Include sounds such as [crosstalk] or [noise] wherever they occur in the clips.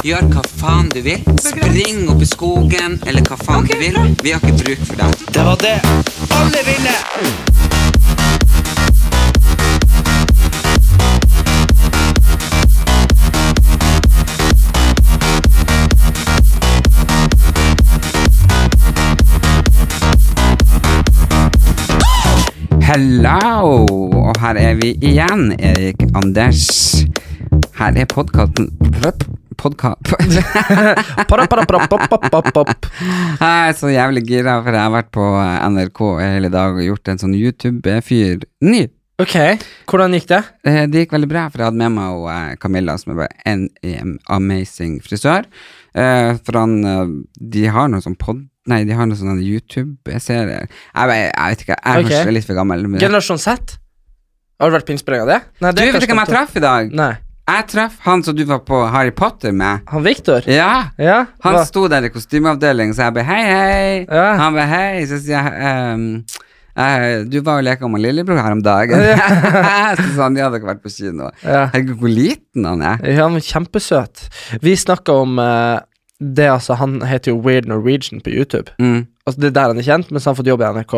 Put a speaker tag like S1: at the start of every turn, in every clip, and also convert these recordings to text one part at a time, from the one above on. S1: Gjør hva faen du vil. Spring opp i skogen eller hva faen du vil. Vi har ikke bruk for deg. Det var det alle ville! Hello! Og her er vi igjen, Erik Anders. Her er podkasten Podka... [laughs] Jeg er så jævlig gira, for jeg har vært på NRK hele dag og gjort en sånn YouTube-fyr ny.
S2: Ok, hvordan gikk det?
S1: Eh, Det gikk veldig bra, for jeg hadde med meg og, eh, Camilla, som er bare en em, amazing frisør. Eh, For han eh, De har noe sånn pod... Nei, de har noen sånne YouTube-serier. Jeg, vet- jeg vet ikke, jeg er
S2: Ok.
S1: kanskje litt for gammel. Men du,
S2: Generasjon Z? Har du vært på innspilling av det? Nei, det er
S1: vet
S2: kanskje
S1: du hvem jeg
S2: ikke.
S1: traff i dag?
S2: Nei.
S1: Jeg traff han som du var på Harry Potter med.
S2: Han Victor?
S1: Ja!
S2: Ja,
S1: Han
S2: hva?
S1: sto der i kostymeavdelingen, så jeg bare hei, hei.
S2: Ja.
S1: Han bare hei. Så sier jeg ehm, eh, du var jo leka med lillebror her om dagen. [laughs] så sa han ja, dere har vært på kino.
S2: Ja.
S1: Herregud, hvor liten han er.
S2: Ja, han var kjempesøt. Vi snakka om eh, det, altså. Han heter jo Weird Norwegian på YouTube.
S1: Mm.
S2: Altså, det er der han er kjent, mens han har fått jobb i NRK.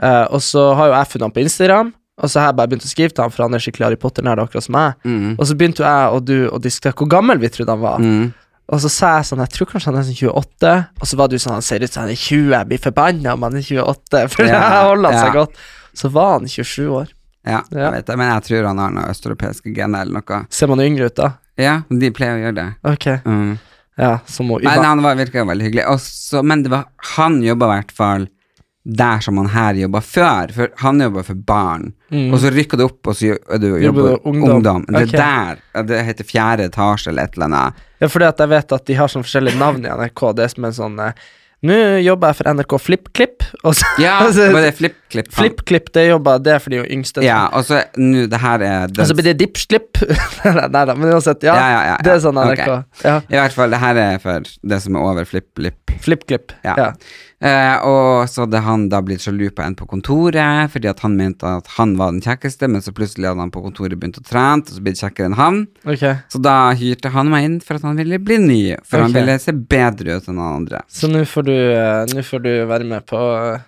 S2: Eh, og så har jo jeg funnet han på Instagram, og så har jeg bare begynt å skrive til han, for han er skikkelig Harry Potter-nerd, akkurat som jeg.
S1: Mm.
S2: Og så begynte jo jeg og du å diskutere hvor gammel vi trodde han var.
S1: Mm.
S2: Og så sa jeg sånn, jeg tror kanskje han er sånn 28 Og så var du sånn, han ser ut som han er 20 Jeg blir forbannet om han er 28 [laughs] For
S1: Ja,
S2: jeg holder han seg
S1: ja.
S2: godt Så var han 27 år
S1: Ja,
S2: Ja.
S1: jeg vet det, men jeg tror han har noe østeuropeiske gener eller noe.
S2: Ser man yngre ut da?
S1: Ja, de pleier å gjøre det.
S2: Ok
S1: Mm.
S2: Ja, så må
S1: Men
S2: Yvan
S1: han var, virka veldig hyggelig. Og så- men det var, han jobba i hvert fall der som han her jobba før, for han jobba for barn. Og så rykker det opp, og så jo- du jobber
S2: Mm. du
S1: ungdom.
S2: ungdom?
S1: Det
S2: Ok.
S1: der, ja, det heter fjerde etasje eller et eller annet.
S2: Ja, fordi at jeg vet at de har sånn forskjellige navn i NRK Det er som en sånn eh, Nå jobber jeg for NRK FlippKlipp [laughs] Og så
S1: [laughs] Ja,
S2: og så-
S1: var det flipp-klipp?
S2: FlippKlipp, det jobber Det er for de jo yngste
S1: Ja, og så nå, det her er den,
S2: Og så blir det dipslipp [laughs] Nei da, men uansett ja,
S1: Ja, ja, ja,
S2: Det
S1: ja.
S2: er sånn NRK
S1: Ok.
S2: ja.
S1: I hvert fall, det her er for det som er over flipp-klipp.
S2: FlippKlipp
S1: Ja.
S2: ja.
S1: Eh, og så hadde han da blitt sjalu på en på kontoret, fordi at han mente at han var den kjekkeste, men så plutselig hadde han på kontoret begynt å trene, og så ble det kjekkere enn han.
S2: Ok
S1: Så da hyrte han meg inn for at han ville bli ny, for han
S2: Ok.
S1: ville se bedre ut enn han andre.
S2: Så nå får du, eh, nå får du være med på eh,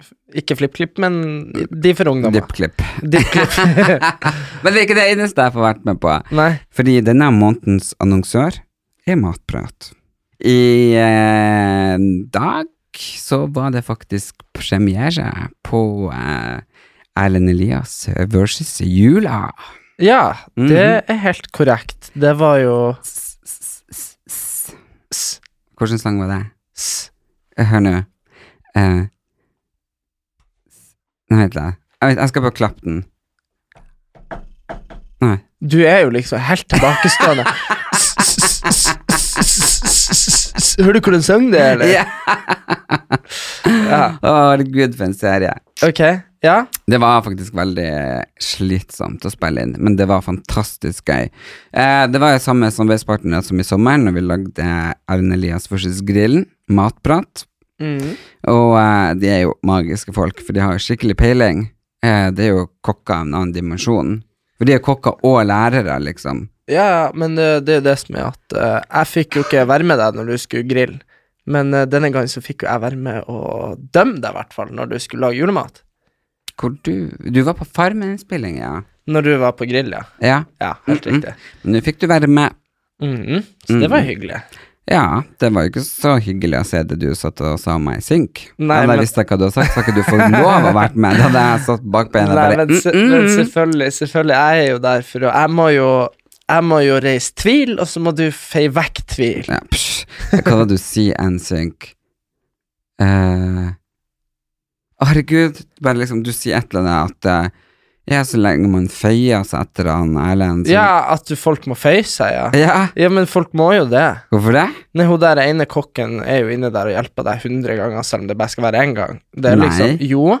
S2: f- Ikke FlippKlipp, men de for ungdommer.
S1: Dipp-klipp.
S2: Dipp-klipp.
S1: [laughs] Men det er ikke det eneste jeg får vært med på,
S2: Nei.
S1: fordi denne månedens annonsør er Matprat. I eh, dag så var det faktisk premiere på eh, Erlend Elias versus Jula.
S2: Ja,
S1: Mhm.
S2: det er helt korrekt. Det var jo s,
S1: Hvilken sang var det?
S2: s.
S1: Hør nå. Eh, Nei, vent litt. Jeg, vet, jeg skal bare klappe den. Nei.
S2: Du er jo liksom helt tilbakestående. S, s, s, s, s, s, s. Hører du hvordan sang det er, eller?
S1: Ja. Å, herregud, for en serie.
S2: Ok, ja.
S1: Det var faktisk veldig slitsomt å spille inn, men det var fantastisk gøy. Eh, det var jo samme samarbeidspartner som i sommeren, når vi lagde Arne Elias versus Grillen, Matprat.
S2: Mhm.
S1: Og eh, de er jo magiske folk, for de har jo skikkelig peiling. Eh, det er jo kokker av en annen dimensjon. For de er kokker og lærere, liksom.
S2: Ja, men det, det er jo det som er at eh, Jeg fikk jo ikke være med deg når du skulle grille, men eh, denne gangen så fikk jo jeg være med og dømme deg, i hvert fall, når du skulle lage julemat.
S1: Hvor du Du var på Farmen-innspilling, ja.
S2: Når du var på grill, ja.
S1: Ja,
S2: Ja, helt
S1: Mm, mm.
S2: riktig.
S1: men nå fikk du være med.
S2: Mhm. Så det var hyggelig.
S1: Ja, det var jo ikke så hyggelig å se det du satt og sa om meg i synk.
S2: Nei,
S1: hadde
S2: men-
S1: jeg visst hva du hadde sagt, så hadde ikke du fått lov å vært med. Da hadde jeg satt bak beina og
S2: Nei,
S1: bare
S2: men, se-
S1: mm,
S2: men
S1: mm, mm.
S2: selvfølgelig, selvfølgelig, jeg er jo der for å Jeg må jo, jeg må jo reise tvil, og så må du feie vekk tvil.
S1: ja, psj. Hva var det du sier, NSYNC? Eh, herregud, bare liksom, du sier et eller annet at eh, Ja, så lenge man feier seg etter han Erlend. så-
S2: Ja, at du- folk må feie seg, ja.
S1: ja.
S2: Ja, men folk må jo det.
S1: Hvorfor det?
S2: Nei, hun der ene kokken er jo inne der og hjelper deg 100 ganger, selv om det bare skal være én gang. Det er
S1: Nei.
S2: liksom, jo,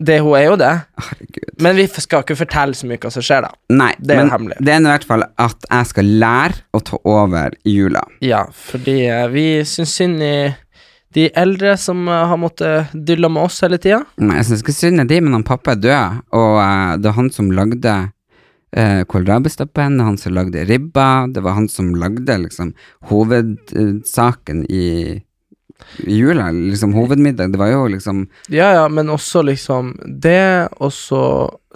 S2: det, hun er jo det.
S1: Herregud.
S2: Men vi skal ikke fortelle så mye hva som skjer, da.
S1: Nei,
S2: Det er
S1: men
S2: hemmelig.
S1: det er nå i hvert fall at jeg skal lære å ta over i jula.
S2: Ja, fordi eh, vi syns synd i de eldre som eh, har måttet dylle med oss hele tida.
S1: Nei, altså, Jeg syns ikke synd på de, men han pappa er død, og eh, det er han som lagde uh, kålrabistappen, det er han som lagde ribba, det var han som lagde liksom hovedsaken i, i jula, liksom hovedmiddag. Det var jo liksom
S2: Ja, ja, men også liksom det, og så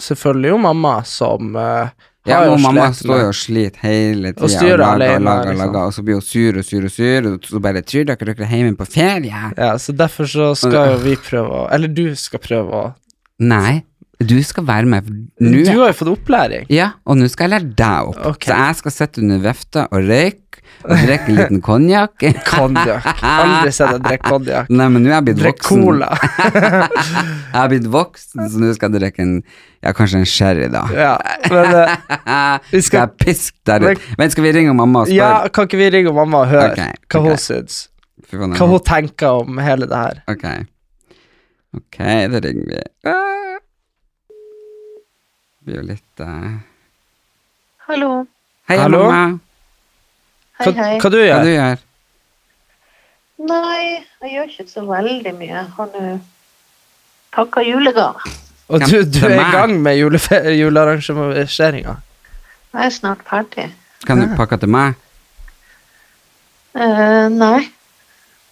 S2: selvfølgelig jo mamma, som eh,
S1: Ja,
S2: har
S1: men
S2: jo
S1: mamma
S2: slet
S1: står
S2: med-
S1: jo og sliter hele tida.
S2: Og styrer alene,
S1: Og lager, og
S2: liksom.
S1: lager, og så blir hun sur og sur og sur, og så bare 'Tror dere dere er hjemme på ferie?'
S2: Ja, så derfor så skal jo vi prøve å Eller du skal prøve å
S1: Nei, du skal være med. for Nå
S2: Du har jo fått opplæring.
S1: Ja, og nå skal jeg lære deg opp.
S2: Ok.
S1: Så jeg skal sitte under vefta og røyke og drikke en liten
S2: [laughs]
S1: konjakk.
S2: Konjakk. Aldri sett deg drikke konjakk.
S1: Nei, men nå er jeg blitt
S2: Drikk
S1: voksen.
S2: cola.
S1: [laughs] Jeg er blitt voksen, så nå skal jeg drikke en Ja, kanskje en sherry, da.
S2: Ja, men eh,
S1: skal...
S2: vi skal-
S1: jeg piske der ut? Men skal vi ringe mamma og spørre?
S2: ja, kan ikke vi ringe mamma og høre
S1: Ok,
S2: hva
S1: ok.
S2: hun syns?
S1: Fy faen,
S2: Hva hun tenker om hele det her?
S1: Ok. Ok, da ringer vi. Ah. Det blir jo litt eh,
S3: Hallo.
S1: Hei,
S2: Hallo?
S1: mamma.
S3: Hei,
S2: Hva,
S3: hei.
S2: hva du
S1: Hva
S2: gjør
S1: du gjør
S3: Nei, jeg gjør ikke så veldig mye. Jeg har nå pakka julegaver.
S2: Og du? Du
S1: Til
S2: er i
S1: meg.
S2: gang med julefe- julearrangeringa.
S3: Jeg er snart ferdig.
S1: Kan du pakke til meg?
S3: Eh, nei,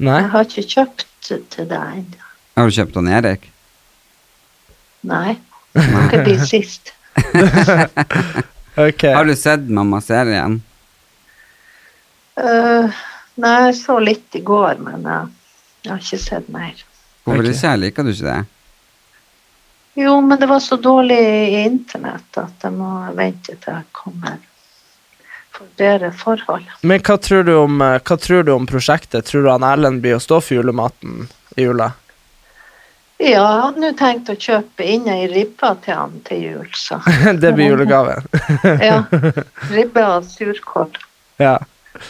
S2: Nei?
S3: jeg har ikke kjøpt til deg ennå.
S1: Har du kjøpt han Erik?
S3: Nei.
S2: [laughs]
S3: Dere blir sist.
S2: Ok.
S1: Har du sett mamma-serien?
S3: Eh, nei, jeg så litt i går, men eh, jeg har ikke sett mer.
S1: Hvorfor
S2: Ok.
S1: ikke? Liker du ikke det?
S3: Jo, men det var så dårlig i internett at jeg må vente til jeg kommer for bedre forhold.
S2: Men hva tror, du om, eh, hva tror du om prosjektet? Tror du han Erlend blir å stå for julematen i jula? [laughs]
S3: Ja, jeg hadde nå tenkt å kjøpe inn ei ribbe til han til jul, så
S2: Det blir julegaven. [laughs]
S3: [laughs] Ja. Ribbe og surkål.
S2: Ja. [laughs]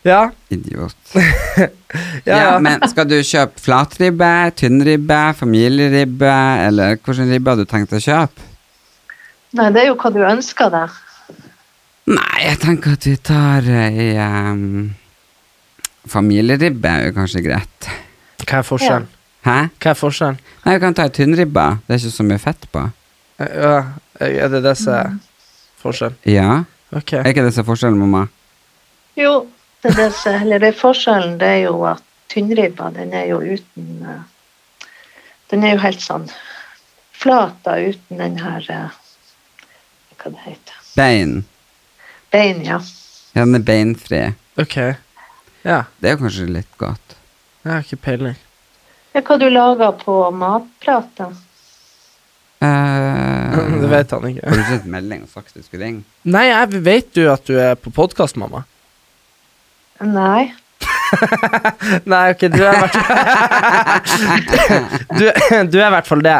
S2: Ja,
S1: Idiot.
S2: ja,
S1: ja,
S2: ja.
S1: men skal du kjøpe flatribbe, tynnribbe, familieribbe, eller hvilken ribbe har du tenkt å kjøpe?
S3: Nei, det er jo hva du ønsker deg.
S1: Nei, jeg tenker at vi tar eh, ei ehm, Familieribbe er jo kanskje greit.
S2: Hva er forskjellen?
S1: Hæ?
S2: Hva er forskjellen?
S1: Nei, vi kan ta ei tynnribbe. Det er ikke så mye fett på.
S2: Eh, Ja, er det det som er forskjellen?
S1: Ja?
S2: Ok.
S1: Er ikke det som er forskjellen, mamma?
S3: Jo, det er, det, som- eller det er forskjellen det er jo at tynnribba, den er jo uten eh, Den er jo helt sånn flat, da, uten den her eh, Hva det heter
S1: Bein.
S3: Bein, ja.
S1: Ja, den er beinfri.
S2: Ok. Ja,
S1: Det er jo kanskje litt godt.
S2: jeg har ikke peiling. [laughs]
S3: Ja, hva du lager på matplata?
S2: [laughs]
S1: Eh,
S2: Det vet han ikke.
S1: Har du sett melding og sagt du skulle ringe?
S2: [laughs] Nei, jeg vet jo at du er på podkast, mamma.
S3: Nei.
S2: [laughs] Nei, ok, du er i hvert fall [laughs] du, du er i hvert fall det.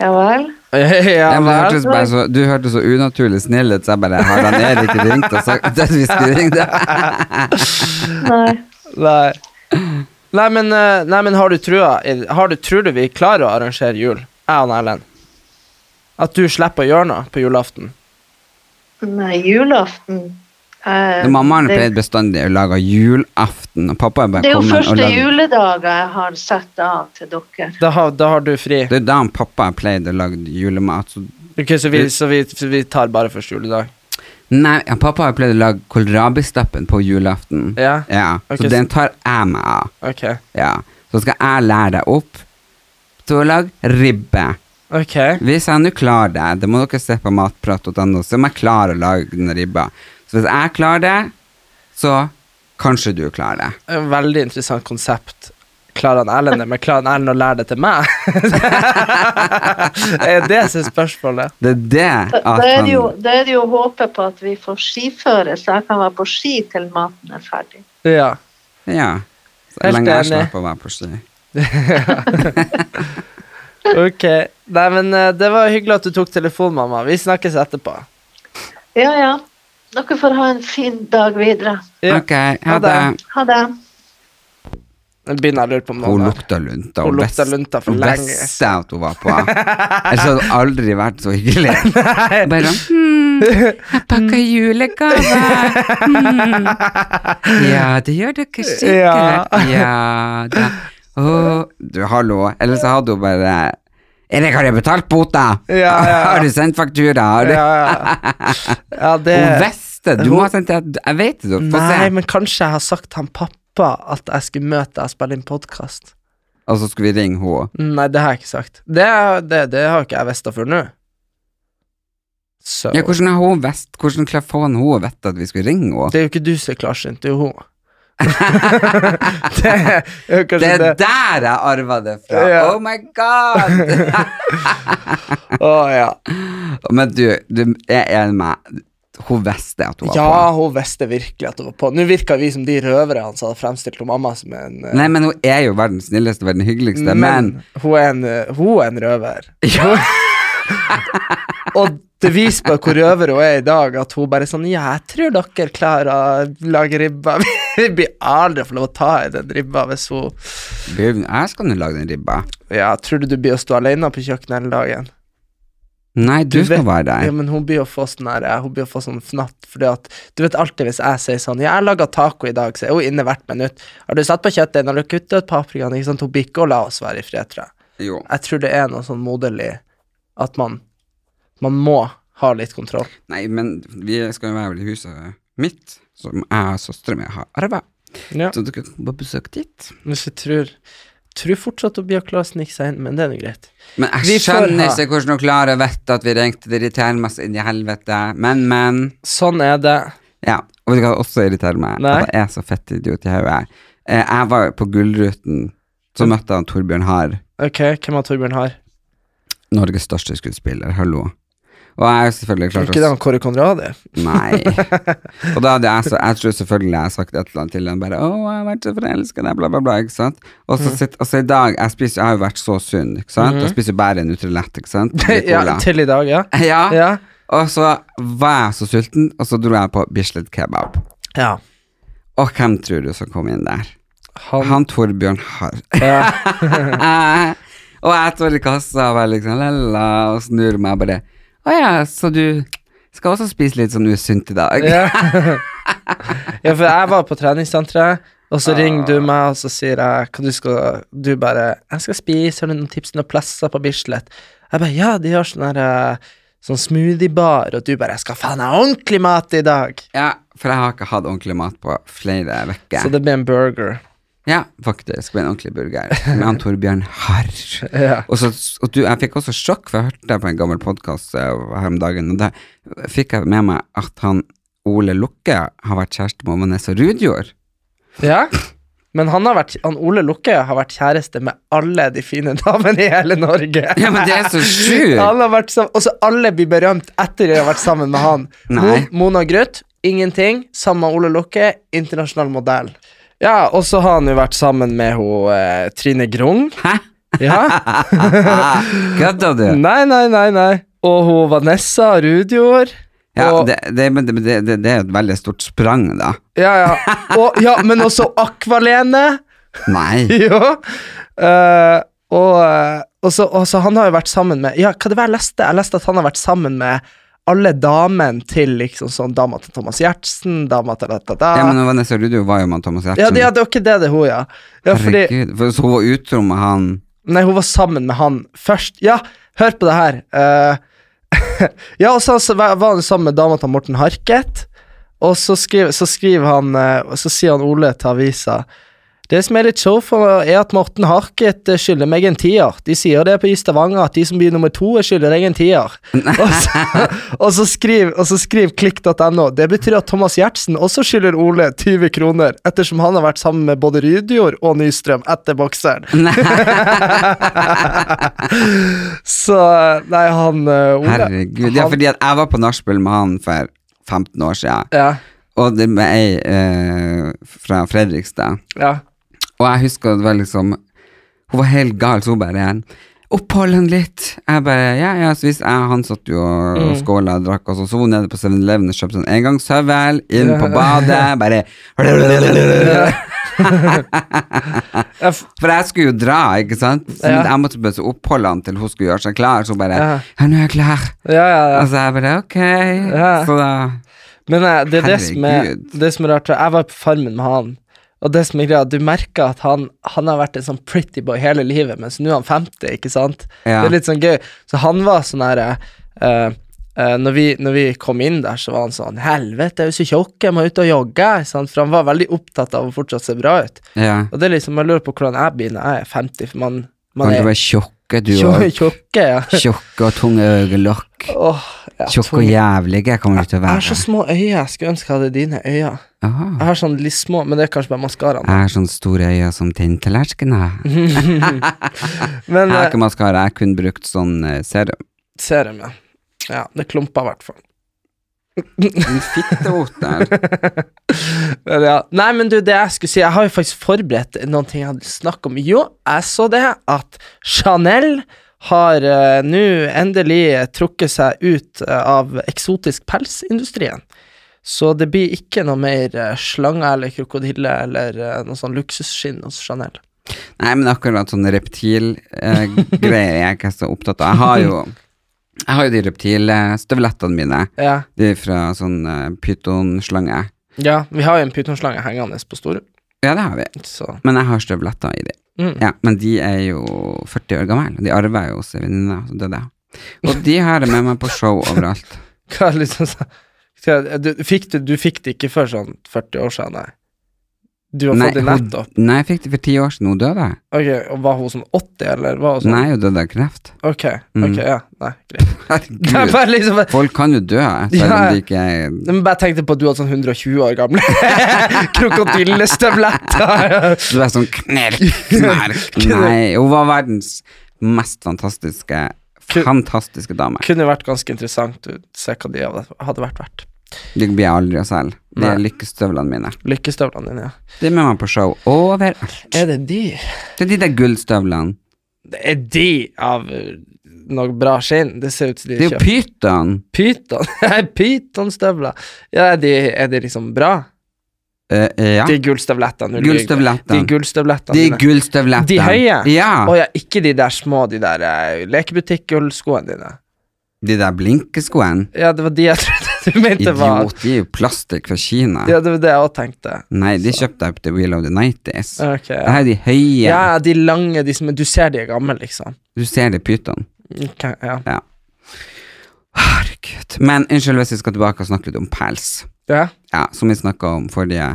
S3: Ja vel?
S2: [laughs] Ja
S1: Ja, men du,
S2: vel.
S1: hørtes bare så, du hørtes så unaturlig snill ut, så jeg bare Har han Erik ringt og sagt at vi skulle ringe deg?
S3: Nei.
S2: Nei. Nei, men, eh, nei, men har du trua i- har du, Tror du vi klarer å arrangere jul, jeg og Erlend? At du slipper å gjøre noe på julaften?
S3: Nei, julaften eh,
S1: Men Mammaen
S3: det-
S1: pleide bestandig å lage julaften, og pappa er
S3: Det
S1: bare
S3: er jo
S1: kommet og
S3: første
S1: lagd
S3: juledager jeg har satt av til dere.
S2: Da har, da har du fri.
S1: Det er jo da han pappa pleide å lage julemat. Så,
S2: Ok, så, vi, så, vi, så vi tar bare første juledag.
S1: nei, ja, pappa har pleid å lage kålrabistappen på julaften.
S2: Ja?
S1: Ja,
S2: Ok,
S1: så den tar jeg meg av.
S2: Ok.
S1: Ja. Så skal jeg lære deg opp til å lage ribbe.
S2: Ok.
S1: Hvis jeg nå klarer det, det må dere se på matprat.no, så må jeg klare å lage den ribba. Så hvis jeg klarer det, så kanskje du klarer det.
S2: En veldig interessant konsept. Klarer han Erlend det, men klarer han Erlend å lære det til
S1: [laughs]
S2: meg? er det som er spørsmålet?
S1: Det er det
S3: Da
S1: at
S3: da er
S1: han
S3: det jo, da er det jo håpet på at vi får skiføre, så jeg kan være på ski til maten er ferdig.
S2: Ja.
S1: Ja. Så
S2: Helt
S1: lenge jeg
S2: enig.
S1: slipper å være på ski.
S2: Ok. Nei, men eh, det var hyggelig at du tok telefonen, mamma. Vi snakkes etterpå.
S3: Ja, ja. Dere får ha en fin dag videre.
S2: Ja.
S1: Ok, ha
S2: Ha det.
S1: det.
S3: Ha det.
S2: Nå begynner jeg å lure på om
S1: Hun
S2: noen er-
S1: lukta lunta.
S2: Hun
S1: best-
S2: lukta lunta for
S1: hun
S2: lenge.
S1: beste at hun var på. Ellers hadde hun aldri vært så hyggelig.
S2: [laughs]
S1: Bare sånn «Hmm, Jeg pakka julegave. Hmm. Ja, det gjør dere sikkert.
S2: Ja.
S1: Ja da. Å, du, hallo. Ellers så hadde hun bare Erik, har du betalt bota?
S2: Ja, ja.
S1: [laughs] Har du sendt faktura? Har du?
S2: Ja, ja. ja det
S1: Hun visste Du
S2: Hun-
S1: må ha sendt det. Jeg vet det. Få
S2: Nei,
S1: se.
S2: men kanskje jeg har sagt til han pappa at jeg skulle møte deg og spille inn podkast.
S1: Og så skulle vi ringe henne.
S2: Nei, det har jeg ikke sagt. Det, det, det har ikke jeg visst før nå. Så
S1: Ja, hvordan har hun visst Hvordan klarer faen hun å vite at vi skulle ringe henne?
S2: Det er jo ikke du som er klarsynt, det er jo hun. det er jo
S1: Det
S2: kanskje
S1: er
S2: det.
S1: der jeg arva det fra!
S2: Ja.
S1: Oh my
S2: [laughs]
S1: god!
S2: Å ja.
S1: Men du, du jeg er enig med meg. Hun visste at hun var
S2: Ja, hun visste virkelig at hun var på. Nå virka vi som de røvere han hadde fremstilt hun mamma som en eh,
S1: på. Nei, men hun er jo verdens snilleste, verdens hyggeligste, men,
S2: hun er en, eh, hun er en røver. Og det viser bare hvor røver hun er i dag, at hun bare sånn Ja, jeg tror dere klarer å lage ribba. [laughs] Vi blir aldri å få lov å ta i den ribba hvis hun
S1: Bjørn, jeg skal nå lage den ribba.
S2: Ja, tror du du blir å stå alene på kjøkkenet hele dagen?
S1: Nei, du,
S2: Du
S1: skal
S2: vet-
S1: være der.
S2: Ja, men hun blir å få sånn her eh, Hun blir å få sånn fnatt, fordi at Du vet alltid hvis jeg sier sånn Ja, jeg laga taco i dag, så er hun inne hvert minutt. Har du satt på kjøttdeigen, har du kutta ut paprikaen? Ikke sant? Hun blir ikke å la oss være i fred, tror jeg.
S1: Jo.
S2: jeg tror det er noe sånn moderlig at man, man må ha litt kontroll.
S1: Nei, men vi skal jo være vel i huset mitt, som jeg og søstera mi har arva.
S2: Ja.
S1: Så du kan bare besøke dit.
S2: Hvis jeg tror, tror fortsatt at Bjørk Klaas nikker seg inn, men det er nå greit.
S1: Men jeg
S2: Vi får
S1: skjønner
S2: ha-
S1: ikke hvordan hun klarer å vite at vi ringte. Det irriterer meg så inn i helvete. Men, men.
S2: Sånn er det.
S1: Ja, og vet du hva også irriterer meg?
S2: Nei.
S1: At jeg er så fett idiot i hodet. Eh, Jeg var jo på Gullruten, så møtte jeg Torbjørn Haar,
S2: Ok, hvem av Torbjørn har?
S1: Norges største skuespiller, hallo. Og jeg er jo selvfølgelig klart
S2: Ikke det han Kåre [laughs] Conradi?
S1: Nei. Og da hadde jeg så Jeg tror selvfølgelig jeg har sagt et eller annet til ham, bare 'Å, jeg har vært så forelska i deg', bla, bla, bla, ikke sant? Og
S2: Mm.
S1: så sitter Og så i dag Jeg spiser Jeg har jo vært så sunn, ikke sant? Jeg spiser jo bare Nutrilett, ikke sant? Litt
S2: Mm-hmm. [laughs] ja,
S1: cola.
S2: til i dag,
S1: [laughs]
S2: ja.
S1: ja.
S2: Ja.
S1: Og så var jeg så sulten, og så dro jeg på Bislett Kebab.
S2: ja.
S1: Og hvem tror du som kom inn der?
S2: Han,
S1: Han Torbjørn Harr. [laughs] og jeg står i kassa og bare liksom la-la, og snur meg og bare Å ja, så du skal også spise litt sånn usunt i dag?
S2: ja. [laughs] ja, for jeg var på treningssenteret, og så ringer du meg, og så sier jeg hva du skal Du bare 'Jeg skal spise, har du noen tips til noen plasser på Bislett?' Jeg bare 'Ja, de har sånn her eh, Sånn smoothiebar', og du bare 'Jeg skal faen ha ordentlig mat i dag'.
S1: Ja, for jeg har ikke hatt ordentlig mat på flere
S2: Så
S1: uker.
S2: det blir en burger.
S1: Ja, faktisk. Med en ordentlig burger. Med han Torbjørn Harr.
S2: Ja.
S1: Og, så- og du, jeg fikk også sjokk, for jeg hørte det på en gammel podkast her om dagen, og da fikk jeg med meg at han Ole Lukke har vært kjæreste med Vanessa Rudjord.
S2: Ja. Men han, har vært, han Ole Lukke har vært kjæreste med alle de fine damene i hele Norge.
S1: Ja, men det er så sjukt!
S2: Han har vært sammen, også alle blir berømt etter de har vært sammen med han.
S1: Nei.
S2: Mo- Mona Grøth, ingenting. Sammen med Ole Lukke, internasjonal modell. Ja, og så har han jo vært sammen med ho, eh, Trine Grung.
S1: Hæ? [laughs]
S2: Ja.
S1: Kødder du?
S2: Nei, nei, nei, nei. Og hun Vanessa Rudjord.
S1: Ja,
S2: og,
S1: det, det, men det, det, det, det er et veldig stort sprang, da.
S2: ja, ja. Og, ja, men også Akvalene.
S1: Nei.
S2: [laughs] ja. Eh, og, eh, og, så, og så han har jo vært sammen med Ja, hva det var jeg leste? Jeg leste at han har vært sammen med alle damene til liksom sånn dama til Thomas Giertsen, dama til dette da.
S1: Ja, men Vanessa Rudio var jo med Thomas
S2: ja,
S1: Gjertsen.
S2: det, ja, det var ikke det det er hun, ja. ja fordi,
S1: Herregud, for så hun var utro med han
S2: nei, hun var sammen med han først. Ja, hør på det her. Eh, ja, og så, så var var han sammen med dama til Morten Harket, og så skriver, så skriver han eh, og Så sier han Ole til avisa Det som er litt show for meg, er at Morten Harket eh, skylder meg en tier. De sier det på i Stavanger at de som blir nummer to, eh, skylder deg en tier. Og så, [laughs] og så skriver og så skriver klikk.no. Det betyr at Thomas Giertsen også skylder Ole 20 kroner, ettersom han har vært sammen med både Rydjord og Nystrøm etter bokseren. [laughs] så Nei, han eh, Ole
S1: Herregud. Ja,
S2: han-
S1: fordi at jeg var på nachspiel med han for 15 år siden,
S2: Ja,
S1: og det med ei eh, fra Fredrikstad.
S2: ja.
S1: Og jeg husker det var liksom Hun var helt gal, så hun bare opphold henne litt. Jeg bare, ja, ja, så hvis jeg, han satt jo og
S2: Mm.
S1: og skåla og drakk, og så sto hun nede på 7-Eleven og kjøpte en engangshøvel, inn på
S2: [laughs]
S1: badet, bare [laughs]
S2: Ja, f-
S1: For jeg skulle jo dra, ikke sant? Så
S2: Ja.
S1: jeg måtte bare så oppholde han til hun skulle gjøre seg klar. Så hun bare
S2: Ja.
S1: Ja, nå er jeg klar.
S2: ja, ja, ja.
S1: Og så jeg bare ok.
S2: Ja.
S1: Så da
S2: Men eh, det er det som er,
S1: Herregud.
S2: det som er rart. tror Jeg Jeg var på Farmen med han, og det som er greia, du merker at han, han har vært en sånn pretty boy hele livet, mens nå er han 50, ikke sant?
S1: Ja.
S2: Det er litt sånn gøy. Så han var sånn herre når, vi, når vi kom inn der, så var han sånn Helvete, jeg er jo så tjukk, jeg må ut og jogge. ikke Sant? For han var veldig opptatt av å fortsatt se bra ut.
S1: Ja.
S2: Og det er liksom, jeg lurer på hvordan jeg blir når jeg er 50, for man, man
S1: Kan du
S2: er
S1: være tjukk, du
S2: tjo-
S1: òg?
S2: tjukke. Ja.
S1: Tjukke og tunge øyelokk.
S2: Åh, ja,
S1: Tjukke
S2: tung.
S1: og jævlige kommer du til å
S2: Jeg har så
S1: være.
S2: små øyne. Jeg skulle ønske jeg hadde dine øyne.
S1: Aha.
S2: Jeg har sånn litt små, men det er kanskje bare maskaraen.
S1: Jeg har sånne store øyne som tinntallerkener.
S2: [laughs]
S1: Jeg
S2: Men
S1: har
S2: eh,
S1: ikke maskara, jeg kunne brukt sånn eh, serum.
S2: serum, ja. Ja, det klumper i hvert fall.
S1: En fitteot
S2: [laughs]
S1: der.
S2: Men ja. Nei, men du, det jeg skulle si, jeg har jo faktisk forberedt noen ting jeg hadde snakket om. Jo, jeg så det at Chanel har eh, nå endelig trukket seg ut eh, av eksotisk pelsindustrien. Så det blir ikke noe mer eh, slange eller krokodille eller eh, noe sånn luksusskinn hos Chanel.
S1: Nei, men akkurat sånne reptilgreier er jeg ikke så opptatt av. Jeg har jo, jeg har jo de reptilstøvlettene mine.
S2: Ja,
S1: De er fra sånn uh, pytonslange.
S2: ja vi har jo en pytonslange hengende på Store,
S1: Ja, det har vi.
S2: så
S1: Men jeg har støvletter i de.
S2: Mm.
S1: Ja, men de er jo 40 år gamle. De arver jo hos en venninne, og så døde jeg. Og de har jeg med meg på show overalt.
S2: [laughs] Hva er liksom så, Skal jeg- du, fikk du, du fikk det ikke før sånn 40 år siden, nei? Du har
S1: Nei,
S2: fått det
S1: hun-
S2: nettopp.
S1: Nei, jeg fikk det for ti år siden. Hun døde.
S2: Ok, og Var hun sånn 80, eller? Var hun sånn?
S1: Nei, hun døde av kreft.
S2: Ok,
S1: Mm.
S2: ok, ja, nei,
S1: [laughs]
S2: greit. Det er
S1: Herregud.
S2: [laughs] bare liksom
S1: Folk kan jo dø, selv
S2: Ja.
S1: om de ikke er
S2: men bare tenkte på at du hadde sånn 120 år gamle [laughs] krokodillestøvletter. [laughs]
S1: Så det er sånn knerk, knerk. Nei, hun var verdens mest fantastiske
S2: Kun-
S1: Fantastiske dame.
S2: Kunne vært ganske interessant å se hva de hadde vært verdt.
S1: Det blir jeg aldri å selge. Det er
S2: Nei.
S1: lykkestøvlene mine.
S2: Lykkestøvlene dine, ja.
S1: De er med meg på show overalt.
S2: Er det de?
S1: Det er de der gullstøvlene.
S2: Det er de av eh, noe bra skinn. Det ser ut som de
S1: Det er jo
S2: kjøper
S1: pyton.
S2: pyton. [laughs] Pytonstøvler. Ja, er de, er de liksom bra?
S1: Eh, eh, ja.
S2: De gullstøvlettene. Ulrik. De
S1: Gullstøvlettene.
S2: gullstøvlettene.
S1: De
S2: dine.
S1: gullstøvlettene.
S2: De høye?
S1: Ja.
S2: Å ja, ikke de der små, de der eh, lekebutikkgullskoene dine.
S1: De der blinkeskoene.
S2: Ja, det var de jeg [laughs] trodde du mente var
S1: Idiot, de er jo plastikk fra Kina.
S2: Ja, det var det jeg òg tenkte.
S1: Nei, de kjøpte jeg på The Wheel of the Nighties.
S2: Ok.
S1: Det her er de høye.
S2: Ja, de lange, de som Du ser de er gamle, liksom.
S1: Du ser det pyton.
S2: Ok, ja.
S1: Herregud. Men unnskyld hvis vi skal tilbake og snakke litt om pels.
S2: ja.
S1: Ja, som vi snakka om forrige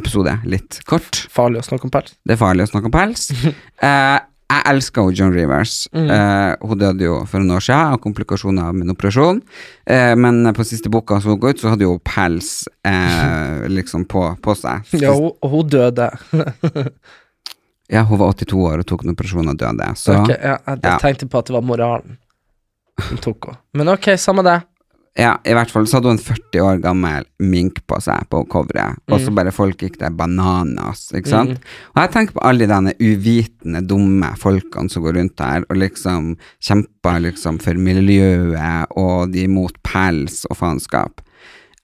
S1: episode, litt kort.
S2: Farlig å snakke om pels.
S1: Det er farlig å snakke om
S2: [laughs]
S1: pels. Eh, jeg elsker jo John Rivers.
S2: Mm.
S1: Eh, hun døde jo for noen år siden av komplikasjoner av min operasjon. Eh, men på siste boka som hun ga ut, så hadde hun jo pels
S2: [laughs]
S1: eh, liksom på, på seg.
S2: Ja, hun- og hun døde. [laughs]
S1: Ja, hun var 82 år og tok en operasjon og døde. Så
S2: Ok, ja, jeg
S1: Ja.
S2: tenkte på at det var moralen hun tok henne. Men ok, samme det.
S1: ja, i hvert fall så hadde hun en 40 år gammel mink på seg på coveret, og så bare folk gikk der bananas, ikke sant? Og jeg tenker på alle de denne uvitende, dumme folkene som går rundt her og liksom kjemper liksom for miljøet, og de er mot pels og faenskap.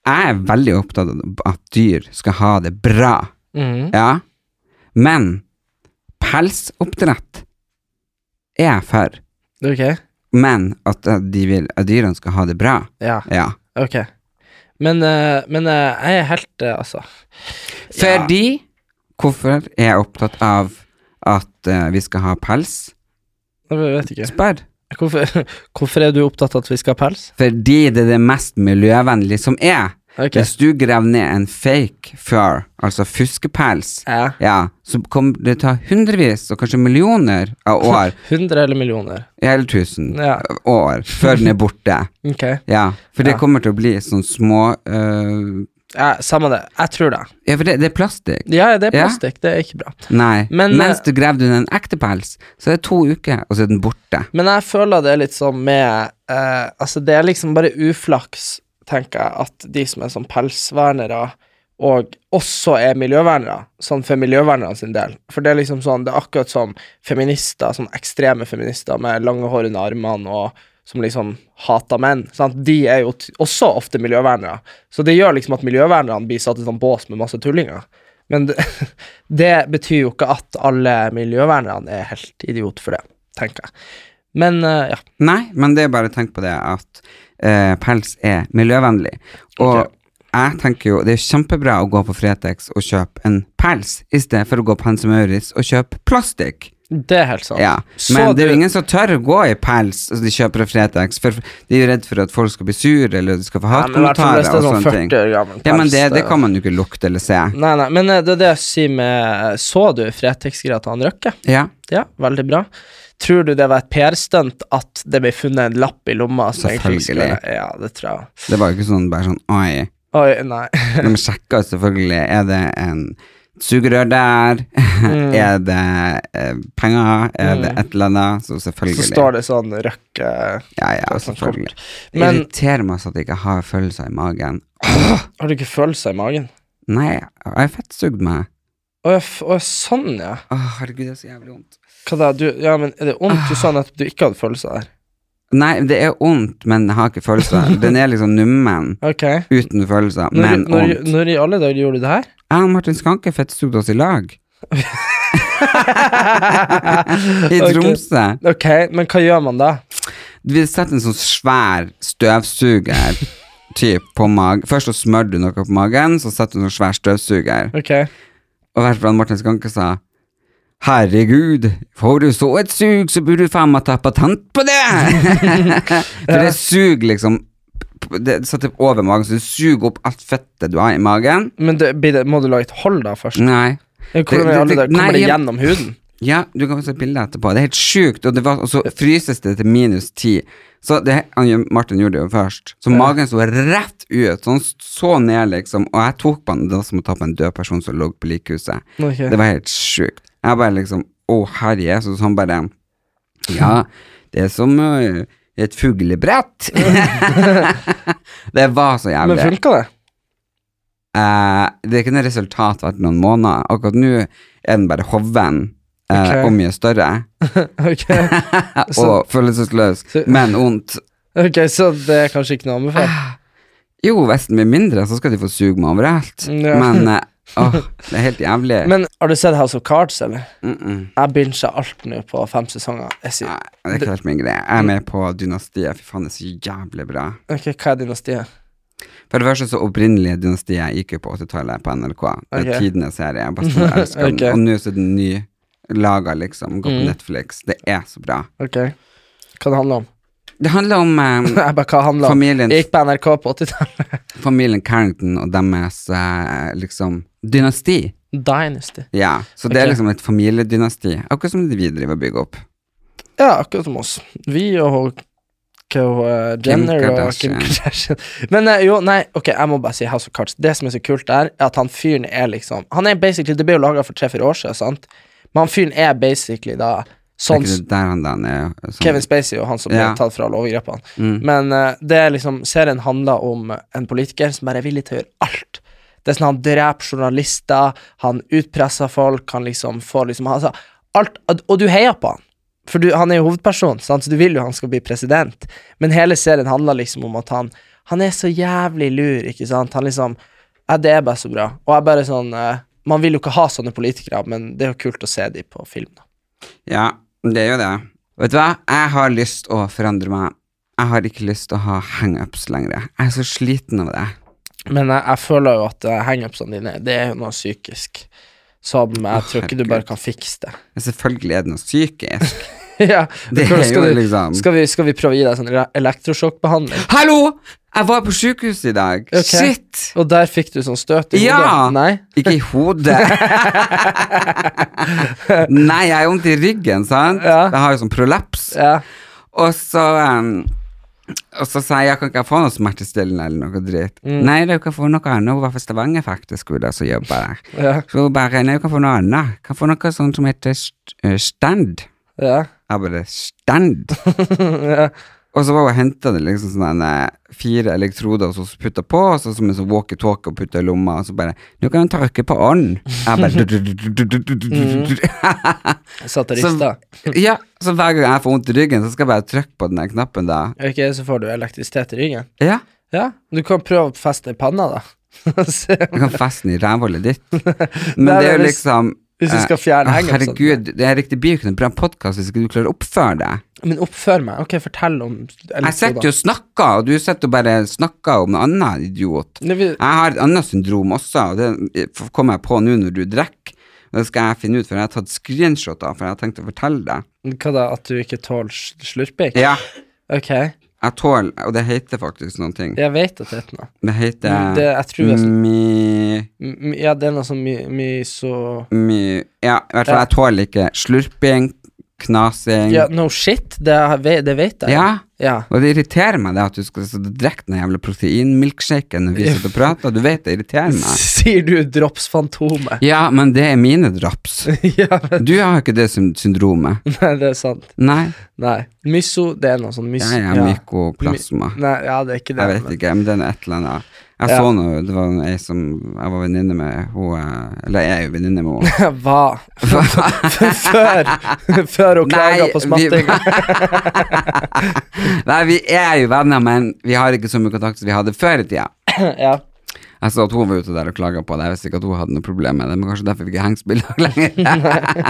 S1: Jeg er veldig opptatt av at dyr skal ha det bra,
S2: Mhm.
S1: ja, men pelsoppdrett er jeg for,
S2: Ok,
S1: men at de vil, at dyrene skal ha det bra,
S2: ja,
S1: ja.
S2: ok. Men, eh, men eh, jeg er helt eh, Altså.
S1: Fordi Hvorfor er jeg opptatt av at eh, vi skal ha pels?
S2: Jeg vet ikke.
S1: Spør.
S2: Hvorfor, [laughs] hvorfor er du opptatt av at vi skal ha pels?
S1: Fordi det er det mest miljøvennlige som er.
S2: Ok.
S1: Hvis du graver ned en fake fur, altså fuskepels,
S2: Ja.
S1: ja, så kommer det ta hundrevis og kanskje millioner
S2: [laughs]
S1: av år,
S2: 100 eller millioner?
S1: eller tusen
S2: Ja.
S1: år, før den er borte.
S2: Ok.
S1: Ja, for det
S2: Ja.
S1: kommer til å bli sånn små eh,
S2: Ja, samme det. Jeg tror det.
S1: Ja, for det, det er plastikk.
S2: Ja, det er
S1: Ja.
S2: plastikk. Det er ikke bra.
S1: Nei.
S2: Men, eh,
S1: Mens du graver under en ekte pels, så er det to uker, og så er den borte.
S2: [laughs] Men jeg føler det er litt sånn med eh, Altså, det er liksom bare uflaks, tenker jeg, at de som er sånn pelsvernere, og også er miljøvernere, sånn for miljøvernerne sin del. For det er liksom sånn, det er akkurat som feminister, sånn ekstreme feminister med lange hår under armene og som liksom hater menn. Sant? De er jo t også ofte miljøvernere. Så det gjør liksom at miljøvernerne blir satt i sånn bås med masse tullinger. Men det, [laughs] det betyr jo ikke at alle miljøvernerne er helt idiot for det, tenker jeg. Men eh, ja.
S1: Nei, men det er bare å tenke på det at eh, pels er miljøvennlig. Og
S2: Ok.
S1: jeg tenker jo det er kjempebra å gå på Fretex og kjøpe en pels, i stedet for å gå på Hense Maurits og kjøpe plastikk.
S2: Det er helt sant.
S1: Ja,
S2: Så
S1: men det er
S2: du-
S1: jo ingen som tør å gå i pels så de kjøper en Fretex, for de er jo redd for at folk skal bli sur, eller de skal få
S2: Nei, men i hvert fall
S1: hatkommentarer
S2: hvis det er
S1: og
S2: sånn
S1: sånne ting.
S2: 40 år gammel
S1: Ja, men
S2: pels, eh.
S1: det, det
S2: det-
S1: kan man jo ikke lukte eller se.
S2: Nei, nei, men eh, det er det jeg sier med Så du Fretex-greia til han Røkke?
S1: Ja,
S2: Ja, veldig bra. Tror du det var et PR-stunt at det ble funnet en lapp i lomma? som egentlig skulle-
S1: Selvfølgelig.
S2: Ja, det tror jeg.
S1: det var jo ikke sånn bare sånn, oi.
S2: Oi, nei. [laughs]
S1: [laughs] De sjekker selvfølgelig Er det en et sugerør der?
S2: Mm.
S1: [laughs] er det eh, penger? Er det et eller annet? Så
S2: Så
S1: selvfølgelig.
S2: står det sånn Røkke
S1: Ja, ja,
S2: det sånn
S1: selvfølgelig. Det
S2: Men-
S1: irriterer meg sånn at jeg ikke har følelser i magen.
S2: Har du ikke følelser i magen?
S1: Nei, jeg har fettsugd meg.
S2: Å ja, f- å, ja, sånn, ja.
S1: Å, herregud, det er så jævlig vondt.
S2: Hva da? Du, ja, men er det vondt? Du sa nettopp du ikke hadde følelser der.
S1: Nei, det er vondt, men jeg har ikke følelser.
S2: [laughs]
S1: Den er liksom nummen.
S2: Ok.
S1: Uten følelser,
S2: Når,
S1: men
S2: når,
S1: vondt.
S2: når i alle dager gjorde du det her?
S1: Jeg og Martin Skanke fettsugde oss i lag.
S2: [laughs]
S1: I
S2: Ok.
S1: Tromsø.
S2: Ok, men hva gjør man da?
S1: Vi setter en sånn svær støvsuger typ på magen. Først så smører du noe på magen, så setter du en sånn svær støvsuger.
S2: Ok.
S1: Og hvert fall Martin Skanke sa Herregud, får du så et sug, så burde du faen meg ta patent på det! For det suger liksom Det setter over magen, så det suger opp alt fettet du har i magen.
S2: Men det, blir det, må du lage et hold da først?
S1: Nei.
S2: Ja,
S1: Mm.
S2: Hvordan
S1: Det-
S2: i
S1: det-
S2: alle
S1: det-
S2: dager kommer
S1: nei,
S2: det
S1: jeg-
S2: gjennom huden?
S1: Ja, du kan se bilder etterpå. Det er helt sjukt. Og, det var, og så fryses det til minus ti. Så det, han, Martin gjorde det jo først. Så magen så rett ut. Så han så ned, liksom. Og jeg tok på han det var som å ta på en død person som lå på likhuset.
S2: Ok.
S1: Det var helt sjukt. Jeg bare liksom Å, herre Jesus. Han bare Ja, det er som ø, et fuglebrett. [laughs] det var så jævlig.
S2: Men funka det?
S1: Eh, det er ikke noe resultat hvert noen måneder. Akkurat nå er den bare hoven eh,
S2: Ok.
S1: og mye større.
S2: Ok,
S1: [laughs]
S2: Så-
S1: og følelsesløs,
S2: så-
S1: men ondt.
S2: Ok, så det er kanskje ikke noe å anbefale?
S1: Ah. Jo, hvis den blir mindre, så skal de få suge meg overalt.
S2: [laughs] Ja.
S1: Men eh, åh, det er helt jævlig.
S2: Men har du sett House of Cards, eller?
S1: mm -mm.
S2: Jeg binger alt nå på fem sesonger. Jeg sier,
S1: Nei, det er ikke helt min greie. Jeg er med på Dynastiet. Fy faen, det er så jævlig bra.
S2: ok, Hva er dynastiet?
S1: For det første så opprinnelige Dynastiet gikk jo på 80-tallet på NRK. Det er
S2: Ok.
S1: tidenes serie. Jeg bare står og elsker den.
S2: [laughs] Ok.
S1: Og nå så er den ny laga, liksom. Går på
S2: Mm.
S1: Netflix. Det er så bra.
S2: Ok, Hva det handler om?
S1: Det handler om eh,
S2: [laughs] Jeg bare, hva handler om?
S1: familien,
S2: Jeg gikk på NRK på 80-tallet.
S1: familien Carrington og deres eh, liksom dynasti.
S2: Dynasty.
S1: Ja, så det er
S2: Ok.
S1: liksom et familiedynasti, akkurat som det vi driver og bygger opp.
S2: Ja, akkurat som oss. Vi og hun- hva hun, eh, Jenner og Kim
S1: Kardashian.
S2: Kardashian. Men eh, jo, nei, ok, jeg må bare si House of Cards. Det som er så kult der, er at han fyren er liksom Han er basically, Det ble jo laga for tre-fire år siden, sant? Men han fyren er basically da
S1: Det er
S2: sånn
S1: ikke det der han da er sånn.
S2: Kevin Spacey og han som ble
S1: Ja.
S2: tatt for alle overgrepene.
S1: Mm.
S2: Men eh, det er liksom, serien handler om en politiker som bare er villig til å gjøre alt. Det er sånn Han dreper journalister, han utpresser folk, han liksom får liksom altså, alt, Og du heier på han. For du, han er jo hovedperson, sant? så du vil jo han skal bli president. Men hele serien handler liksom om at han Han er så jævlig lur, ikke sant? Han liksom ja, Det er bare så bra. Og jeg bare sånn eh, Man vil jo ikke ha sånne politikere, men det er jo kult å se de på film. da.
S1: Ja, det er jo det. Vet du hva? Jeg har lyst å forandre meg. Jeg har ikke lyst til å ha hangups lenger. Jeg er så sliten av det.
S2: Men jeg, jeg føler jo at eh, hangupsene dine, det er jo noe psykisk. Som jeg
S1: Å,
S2: tror ikke du
S1: herregud.
S2: bare kan fikse [laughs] det.
S1: Men selvfølgelig er det noe psykisk.
S2: [laughs] ja,
S1: Det
S2: hvordan
S1: er jo
S2: skal, du,
S1: liksom
S2: skal, vi, skal vi prøve å gi deg sånn re- elektrosjokkbehandling?
S1: Hallo! Jeg var på sykehuset i dag.
S2: Ok.
S1: Shit!
S2: Og der fikk du sånn støt i hodet?
S1: Ja!
S2: Nei?
S1: Ikke i
S2: [laughs]
S1: hodet. Nei, jeg har vondt i ryggen, sant?
S2: Ja.
S1: Jeg har jo sånn prolaps.
S2: Ja.
S1: Og så em, Og så sa jeg jeg kan ikke få noe smertestillende eller noe dritt.
S2: Mm.
S1: Nei, du kan få noe annet. Hun var fra Stavanger, faktisk, hun der som jobba der.
S2: Ja.
S1: Så hun bare Nei, du kan få noe annet. Kan få noe sånt som heter st eh, stand.
S2: Ja.
S1: Jeg bare Stand?
S2: [laughs] ja.
S1: Og så var hun og hentet det liksom sånne eh, fire elektroder som hun putta på, og så som en sånn walkie-talkie og putta i lomma, og så bare 'Nå kan hun tørke på ånden'. Jeg bare
S2: Jeg satt
S1: [laughs]
S2: og
S1: Så-
S2: Mm. rista.
S1: Ja, så hver gang jeg får vondt i ryggen, så skal jeg bare trykke på den der knappen da.
S2: Er ikke det, så får du elektrisitet i ryggen.
S1: Ja,
S2: Ja, du kan prøve å feste i panna, da. [laughs] Se,
S1: jeg
S2: [laughs]
S1: kan feste den i rævhullet ditt. Men det er
S2: Nei, men
S1: jo
S2: hvis-
S1: liksom
S2: hvis du
S1: eh,
S2: skal fjerne
S1: ah,
S2: hengen, sånn.
S1: Herregud, det er riktig blir jo ikke en bra podkast hvis ikke du klarer å oppføre deg.
S2: men oppfør meg. Ok, fortell om
S1: Jeg sitter jo og snakker, og du sitter og bare snakker om noe annet, idiot.
S2: Nei, vi-
S1: Jeg har et annet syndrom også, og det eh, f- kom jeg på nå når du drikker. Og det skal jeg finne ut, for jeg har tatt screenshoter, for jeg har tenkt å fortelle deg.
S2: Hva da, at du ikke tåler sl- slurping?
S1: Ja,
S2: Ok,
S1: jeg tåler, og det heter faktisk noen ting.
S2: jeg vet at det heter noe.
S1: Det heter
S2: Det- jeg tror det er sånn-
S1: mi...
S2: M- Ja, det er noe sånn mye my, så
S1: mye Ja, i hvert fall
S2: Ja.
S1: jeg tåler ikke slurping, knasing
S2: Ja,
S1: ja.
S2: no shit, det, har- ve- det vet jeg. Ja.
S1: Og det irriterer meg det at du skal sitte og drikke den jævla proteinmilkshaken når vi sitter og prater. Du vet det irriterer
S2: [laughs]
S1: meg.
S2: Sier du dropsfantomet?
S1: Ja, men det er mine drops.
S2: [laughs] ja, men
S1: Du har ikke det syn- syndromet.
S2: nei, det er sant.
S1: Nei.
S2: Nei. Myso, det er noe sånn myso.
S1: Jeg er mykoplasma.
S2: Nei, ja, det er ikke det.
S1: Jeg vet ikke, men det er noe- et eller annet. Jeg
S2: Ja.
S1: så noe, det var ei som jeg var venninne med, hun eh, Eller jeg er jo venninne med
S2: [laughs]
S1: henne.
S2: Hva? [laughs] før, før hun klaga på smatting.
S1: [laughs] Nei, vi er jo venner, men vi har ikke så mye kontakt som vi hadde før i tida.
S2: ja.
S1: Jeg så at hun var ute der og klaga på det. Jeg visste ikke at hun hadde noe problem med det, men kanskje derfor vi ikke henger på i lag lenger.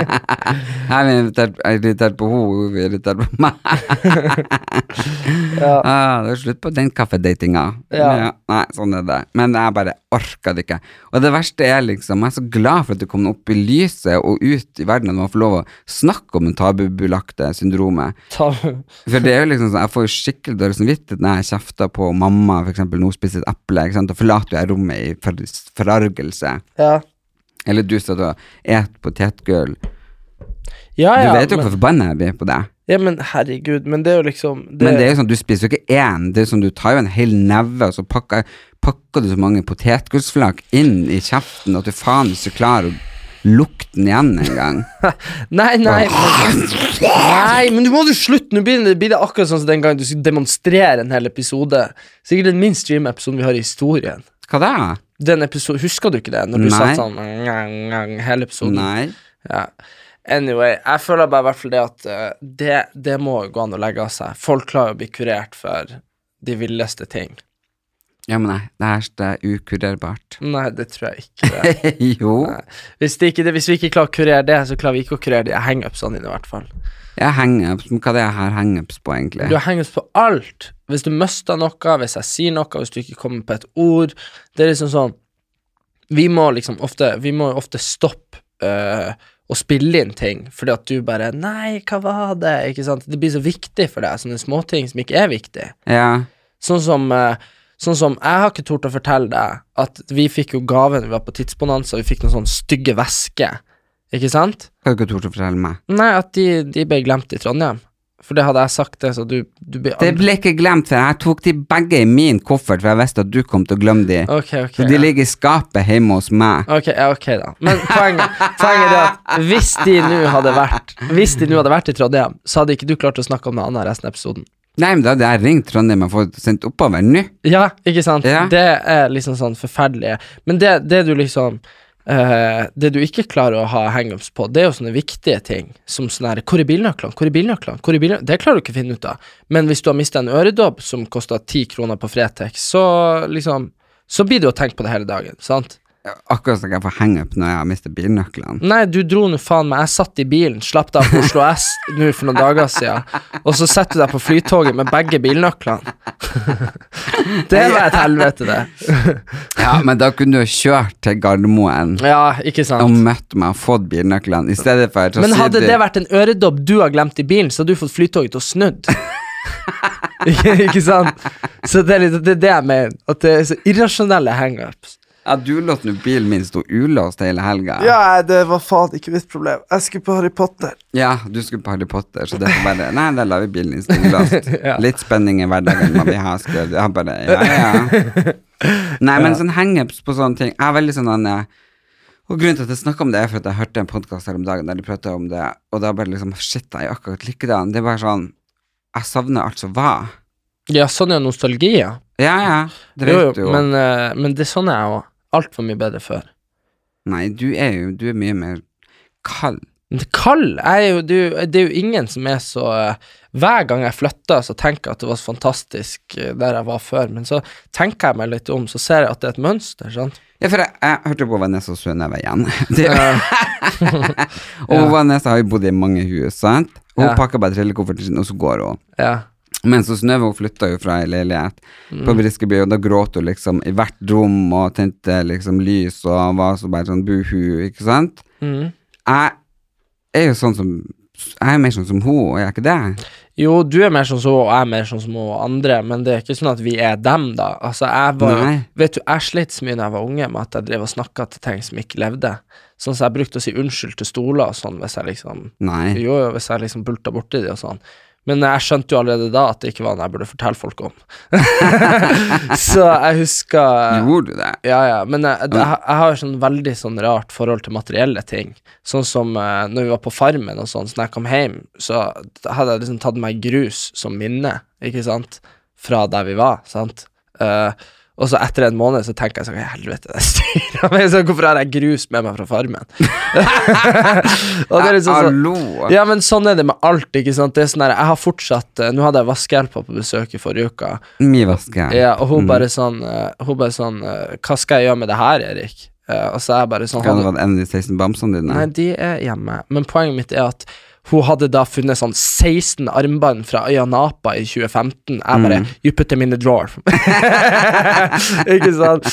S2: [laughs]
S1: jeg er irritert, jeg er irritert på henne, hun er irritert på meg.
S2: [laughs] Ja.
S1: Ah, det er slutt på den kaffedatinga.
S2: Ja.
S1: Nei, sånn er det. Men jeg bare orka det ikke. Og det verste er liksom, jeg er så glad for at det kom opp i lyset og ut i verden at man får lov å snakke om det tabubelagte syndromet.
S2: Ta,
S1: For det er jo liksom sånn, Jeg får jo skikkelig dårlig samvittighet når jeg kjefter på mamma, for eksempel, når hun spiser et eple, ikke sant? og forlater jeg rommet i for, forargelse.
S2: ja.
S1: Eller du sitter og et potetgull.
S2: Ja,
S1: Du
S2: ja,
S1: vet jo
S2: men,
S1: hvor forbanna jeg blir på det.
S2: ja, men herregud, men det er jo liksom det,
S1: Men det er jo sånn, du spiser jo ikke én, det er sånn, du tar jo en hel neve, og så pakker, pakker du så mange potetgullsflak inn i kjeften at du faen ikke klarer å lukte den igjen engang.
S2: Nei, nei, men, nei, men du må jo slutte! Nå blir det, blir det akkurat sånn som den gangen du skulle demonstrere en hel episode. Sikkert den minst stream-episoden vi har i historien.
S1: Hva da?
S2: [laughs] Den episoden, Husker du ikke det? Når du
S1: Nei.
S2: satt sånn ngang, ngang, hele episoden.
S1: Nei.
S2: Ja. Anyway, jeg føler bare i hvert fall det at eh, det, det må jo gå an å legge av seg. Folk klarer å bli kurert for de villeste ting.
S1: Ja, men nei, det her er ukurerbart.
S2: Nei, det tror jeg ikke. det er.
S1: [laughs] jo.
S2: Hvis, det ikke det, hvis vi ikke klarer å kurere det, så klarer vi ikke å kurere de hangupsene dine, sånn i hvert fall.
S1: Jeg hangups, men hva er det jeg har hangups på egentlig?
S2: Du har hangups på alt. Hvis du mister noe, hvis jeg sier noe, hvis du ikke kommer på et ord Det er liksom sånn Vi må liksom ofte Vi må jo ofte stoppe eh, å spille inn ting, fordi at du bare 'Nei, hva var det?' Ikke sant? Det blir så viktig for deg, sånne småting som ikke er viktig.
S1: Ja,
S2: Sånn som eh, Sånn som, Jeg har ikke tort å fortelle deg at vi fikk jo gaven vi var på Tidsbonanza, vi fikk noen sånne stygge vesker, ikke sant?
S1: Hva har du ikke tort å fortelle meg?
S2: Nei, at de, de ble glemt i Trondheim. For det hadde jeg sagt, det, så du, du blir
S1: Det ble ikke glemt, for jeg tok de begge i min koffert, for jeg visste at du kom til å glemme de.
S2: Ok, ok.
S1: Så de ligger i skapet hjemme hos meg.
S2: Ok, ja, ok da. Men poenget, poenget er at hvis de nå hadde vært Hvis de nå hadde vært i Trondheim, så hadde ikke du klart å snakke om det annet resten av episoden.
S1: Nei, men da hadde jeg ringt Trondheim og fått sendt oppover nå.
S2: Ja, ikke sant?
S1: Ja.
S2: Det er liksom sånn forferdelig. Men det, det du liksom eh, Det du ikke klarer å ha hangups på, det er jo sånne viktige ting som sånn her Hvor er bilnøklene? Hvor er bilnøklene? Hvor er bilnøklene? Det klarer du ikke å finne ut av. Men hvis du har mista en øredobb som kosta ti kroner på Fretex, så liksom Så blir det jo tenkt på det hele dagen, sant?
S1: Akkurat som jeg får hangup når jeg har mistet bilnøklene.
S2: Nei, du dro nå faen meg. Jeg satt i bilen, slapp deg av på Oslo S nå for noen dager siden, og så setter du deg på flytoget med begge bilnøklene. [laughs] det var et helvete, det.
S1: Ja, men da kunne du ha kjørt til Gardermoen
S2: Ja, ikke sant?
S1: og møtt meg og fått bilnøklene, i stedet for så
S2: Men hadde
S1: sitter-
S2: det vært en øredobb du har glemt i bilen, så hadde du fått flytoget til å snudd. [laughs] ikke, ikke sant? Så det er, litt, det er det jeg mener. At det er så irrasjonelle hangups.
S1: Ja, du lot nå bilen min stå ulåst hele helga.
S2: det var faen ikke mitt problem. Jeg skulle på Harry Potter.
S1: Ja, du skulle på Harry Potter, så det er bare Nei, da lar vi bilen i stilllåst.
S2: [laughs] Ja.
S1: Litt spenning i hverdagen må vi ha, skrev jeg. Bare ja, ja. Nei, men sånn hangups på sånne ting Jeg er veldig sånn eh, Og grunnen til at jeg snakker om det, er for at jeg hørte en podkast her om dagen der de pratet om det, og da bare liksom Shit, jeg er akkurat likedan. Det er bare sånn Jeg savner alt som var.
S2: Ja, sånn er nostalgi, ja.
S1: Ja, ja, det
S2: Jo,
S1: vet
S2: jo,
S1: du jo.
S2: men, eh, men det er sånn er jeg òg. Altfor mye bedre før.
S1: Nei, du er jo du er mye mer kald.
S2: Men det- Kald jeg er jo det, er jo det er jo ingen som er så eh, Hver gang jeg flytter, så tenker jeg at det var så fantastisk eh, der jeg var før, men så tenker jeg meg litt om, så ser jeg at det er et mønster, sant.
S1: Ja, for jeg, jeg hørte på Vanessa Søneve
S2: [laughs]
S1: igjen. Det, [laughs] og Vanessa har jo bodd i mange hus, sant? Og Hun
S2: Ja.
S1: pakker bare trillekofferten sin, og så går hun.
S2: Ja.
S1: Men så Synnøve hun flytta jo fra ei leilighet på
S2: Mm.
S1: Briskeby, og da gråt hun liksom i hvert rom og tente liksom lys og var så bare sånn buhu, ikke sant?
S2: Mm.
S1: Jeg er jo sånn som Jeg er mer sånn som hun, og jeg er ikke det?
S2: Jo, du er mer sånn som hun, og jeg er mer sånn som hun og andre, men det er ikke sånn at vi er dem, da. Altså, jeg var jo
S1: Nei.
S2: Vet du, jeg slet så mye da jeg var unge med at jeg drev og snakka til ting som ikke levde. Sånn som jeg brukte å si unnskyld til stoler og sånn hvis jeg liksom
S1: Nei.
S2: Jo, jo, hvis jeg liksom bulta borti de og sånn. Men jeg skjønte jo allerede da at det ikke var noe jeg burde fortelle folk om. [laughs] så jeg husker
S1: Gjorde du det?
S2: ja, ja, men jeg, jeg, jeg har jo sånn veldig sånn rart forhold til materielle ting. Sånn som eh, når vi var på farmen og sånn, så når jeg kom hjem, så hadde jeg liksom tatt meg grus som minne, ikke sant, fra der vi var, sant. Eh, og så etter en måned så tenker jeg sånn, hva i helvete, det styrer meg, sånn, hvorfor har jeg grus med meg fra farmen? [laughs] og det er liksom sånn,
S1: Hallo!
S2: ja, men sånn er det med alt, ikke sant. Det er sånn der, jeg har fortsatt eh, Nå hadde jeg vaskehjelpa på besøk i forrige uke.
S1: Mye vaske.
S2: Ja, og hun bare sånn eh, Hun bare sånn eh, Hva skal jeg gjøre med det her, Erik? Eh, og så er jeg bare sånn
S1: Kan det være en av de 16 bamsene dine?
S2: Nei, de er hjemme. Men poenget mitt er at hun hadde da funnet sånn 16 armbånd fra Øya Napa i 2015. Jeg bare
S1: Mm.
S2: You put them in the drawer. [laughs] Ikke sant?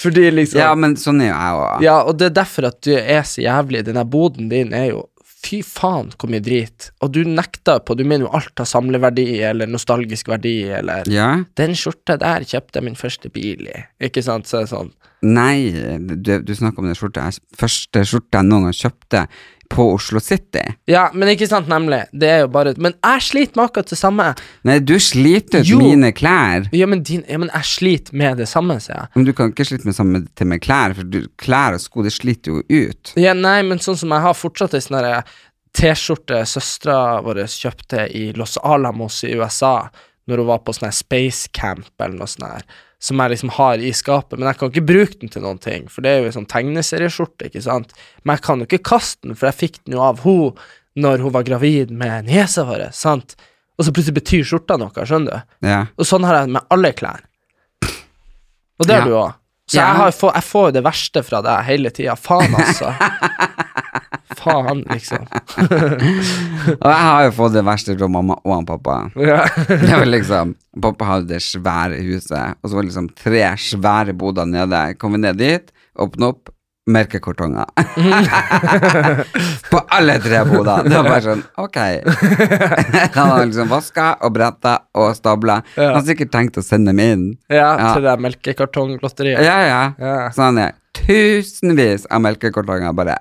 S2: Fordi liksom
S1: Ja,
S2: ja,
S1: men sånn er jo jeg òg.
S2: og det er derfor at du er så jævlig. Den der boden din er jo Fy faen, hvor mye drit. Og du nekter på Du mener jo alt har samleverdi eller nostalgisk verdi eller
S1: Ja?
S2: den skjorta der kjøpte jeg min første bil i. Ikke sant? Så er det sånn.
S1: Nei, du, du snakker om den skjorta. Jeg- Første skjorta jeg noen gang kjøpte på Oslo City.
S2: Ja, men ikke sant, nemlig. Det er jo bare Men jeg sliter med akkurat det samme.
S1: Nei, du sliter ut
S2: Jo.
S1: mine klær.
S2: Ja, men, din, ja, men jeg sliter med det samme, sier jeg.
S1: Men du kan ikke slite med samme til med klær, for du, klær og sko, det sliter jo ut.
S2: Ja, nei, men sånn som jeg har fortsatt ei sånn derre T-skjorte søstera vår kjøpte i Los Alamos i USA når hun var på sånn her space camp eller noe sånt her, som jeg liksom har i skapet, men jeg kan ikke bruke den til noen ting, for det er jo en sånn tegneserieskjorte, ikke sant? Men jeg kan jo ikke kaste den, for jeg fikk den jo av hun når hun var gravid med niesa vår, sant? Og så plutselig betyr skjorta noe, skjønner du?
S1: Ja.
S2: Og sånn har jeg det med alle klær. Og det har
S1: Ja.
S2: du òg. Så
S1: Ja.
S2: jeg, har, få- jeg får jo det verste fra deg hele tida. Faen,
S1: [laughs]
S2: altså. Faen, liksom.
S1: Og jeg har jo fått det verste fra mamma og han pappa.
S2: Ja.
S1: [laughs] Det var liksom, Pappa hadde det svære huset, og så var det liksom tre svære boder nede. Kom vi ned dit, åpne opp, merke kartonger. [laughs] På alle tre bodene. Det var bare sånn, ok. [laughs] Han hadde liksom vaska og bretta og stabla. Han har sikkert tenkt å sende dem inn.
S2: ja,
S1: Ja.
S2: til det melkekartonglotteriet.
S1: Ja, ja.
S2: Ja.
S1: Så han er tusenvis av melkekartonger, bare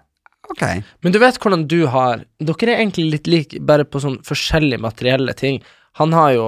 S1: ok.
S2: Men du vet hvordan du har Dere er egentlig litt like, bare på sånn forskjellige materielle ting. Han har jo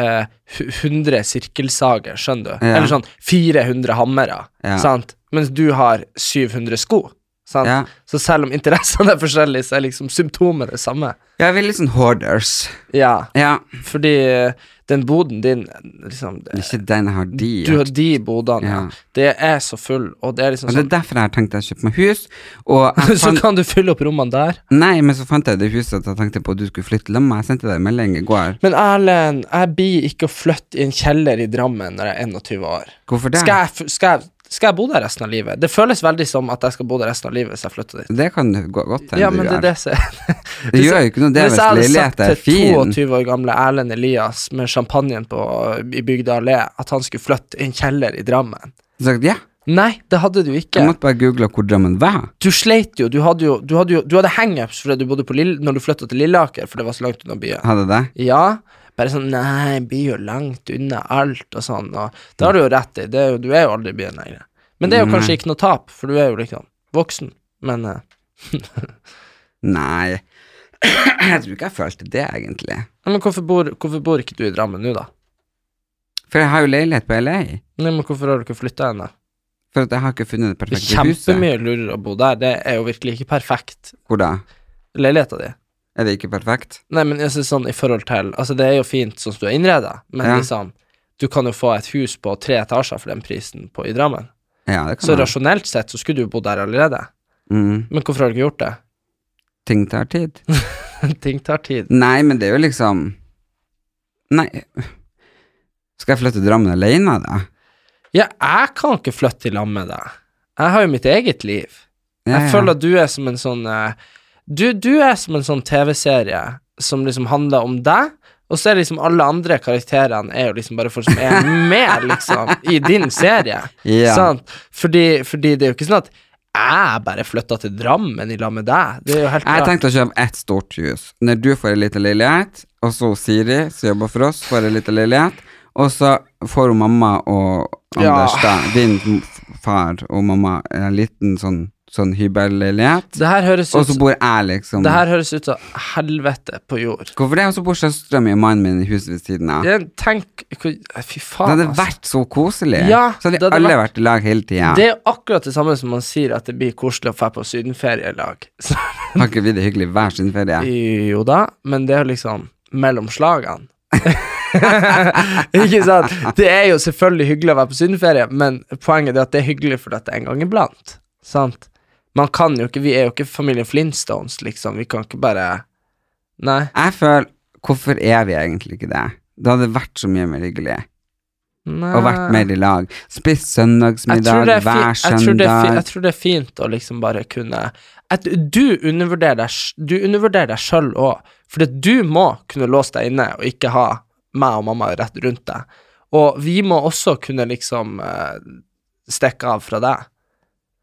S2: eh, hu- 100 sirkelsager, skjønner du.
S1: Ja.
S2: Eller sånn 400 hammere,
S1: Ja.
S2: sant. Mens du har 700 sko. Sant?
S1: Ja.
S2: Så selv om interessene er forskjellige, så er liksom symptomer det samme.
S1: Ja, vi er litt sånn hoarders.
S2: Ja,
S1: Ja,
S2: fordi eh, den boden din liksom,
S1: det er ikke den jeg har de.
S2: Du har de bodene, ja.
S1: Ja.
S2: Det er så full, og det er liksom
S1: Og det
S2: sånn [laughs]
S1: er derfor jeg har tenkt å kjøpe meg hus. Og [laughs] jeg
S2: Så
S1: fant,
S2: kan du fylle opp rommene der.
S1: nei, men så fant jeg det huset jeg tenkte på at du skulle flytte sammen med. Jeg sendte deg en melding i går.
S2: Men Erlend, jeg blir ikke å flytte i en kjeller i Drammen når jeg er 21 år.
S1: Hvorfor det?
S2: Skal jeg, f- skal, jeg, skal jeg bo der resten av livet? Det føles veldig som at jeg skal bo der resten av livet hvis jeg flytter dit.
S1: Det kan du gå godt hende
S2: Ja,
S1: du
S2: men det er
S1: gjør.
S2: [laughs] det som
S1: Det gjør jo ikke noe, det er
S2: Hvis
S1: hvis
S2: jeg hadde sagt
S1: leiligheten er
S2: til
S1: fin.
S2: 22 år gamle Erlend Elias med champagnen på, i Bygda allé at han skulle flytte i en kjeller i Drammen
S1: Så jeg, ja,
S2: Nei, det hadde du ikke.
S1: jeg måtte bare google hvor Drammen var.
S2: du sleit jo. Du hadde jo, du hadde jo Du hadde hangups fordi du bodde på Lill når du flytta til Lilleaker, for det var så langt unna byen.
S1: Hadde det?
S2: Ja. Bare sånn Nei, by jo langt unna alt og sånn. Og det har du jo rett i. Det er jo, du er jo aldri i byen lenger. Men det er jo kanskje ikke noe tap, for du er jo liksom voksen. Men eh,
S1: Nei. [clears throat] Jeg tror ikke jeg følte det, egentlig.
S2: Nei, men hvorfor bor, hvorfor bor ikke du i Drammen nå, da?
S1: For jeg har jo leilighet på LA.
S2: Nei, men Hvorfor har du ikke flytta ennå?
S1: For at jeg har ikke funnet det
S2: Det er
S1: perfekte huset.
S2: kjempemye lurere å bo der. Det er jo virkelig ikke perfekt.
S1: Hvor da?
S2: Leiligheta di.
S1: Er det ikke perfekt?
S2: Nei, men jeg synes sånn i forhold til Altså, det er jo fint sånn som du er innreda, men
S1: Ja.
S2: liksom Du kan jo få et hus på tre etasjer for den prisen på, i Drammen.
S1: Ja, det kan
S2: Så
S1: være.
S2: rasjonelt sett så skulle du jo bodd der allerede.
S1: Mm.
S2: Men hvorfor har du ikke gjort det? [laughs]
S1: Ting tar tid. [laughs]
S2: Ting tar tid.
S1: Nei, men det er jo liksom Nei. Skal jeg flytte til Drammen alene, da?
S2: Ja, jeg kan ikke flytte i lag med deg. Jeg har jo mitt eget liv.
S1: Ja, ja.
S2: Jeg føler at du er som en sånn eh, Du, du er som en sånn TV-serie som liksom handler om deg, og så er liksom alle andre karakterene er jo liksom bare folk som
S1: [laughs]
S2: er med, liksom, i din serie.
S1: Ja.
S2: Sant? Fordi, fordi det er jo ikke sånn at jeg bare flytta til Drammen i lag med deg. Det er jo helt
S1: Jeg
S2: klart.
S1: tenkte å kjøpe ett stort hus. Når du får ei lita leilighet, og så Siri, som jobber for oss, får ei lita leilighet, og så får hun mamma og
S2: Ja.
S1: Anders, da, din f- far og mamma, en liten sånn, sånn hybelleilighet,
S2: Det her høres
S1: og
S2: ut
S1: så bor jeg liksom
S2: det her høres ut som helvete på jord.
S1: Hvorfor det? Og så bor søstera mi og mannen min i huset ved siden av.
S2: Jeg, tenk hvor- Fy
S1: Det
S2: faen,
S1: hadde vært så koselig.
S2: altså. Ja,
S1: så hadde
S2: det hadde
S1: alle
S2: vært-
S1: vært i lag hele tida.
S2: Det er akkurat det samme som man sier at det blir koselig å dra på sydenferie i lag. [laughs] Så-
S1: Har ikke vi det hyggelig hver sin ferie?
S2: Jo da, men det er jo liksom mellom slagene. [laughs] ikke sant? Det er jo selvfølgelig hyggelig å være på sydenferie, men poenget er at det er hyggelig fordi at det er en gang iblant. Sant? Man kan jo ikke, Vi er jo ikke familien Flintstones, liksom. Vi kan ikke bare Nei.
S1: Jeg føler Hvorfor er vi egentlig ikke det? Det hadde vært så mye mer hyggelig.
S2: Nei.
S1: og vært mer i lag. Spist
S2: Ah. Jeg tror
S1: søndagsmiddag
S2: det er fi-
S1: hver
S2: jeg tror det er fi-
S1: søndag.
S2: Jeg tror det er fint å liksom bare kunne at Du undervurderer deg sj- Du undervurderer deg sjøl òg, for du må kunne låse deg inne og ikke ha meg og mamma rett rundt deg. Og vi må også kunne liksom eh, stikke av fra deg.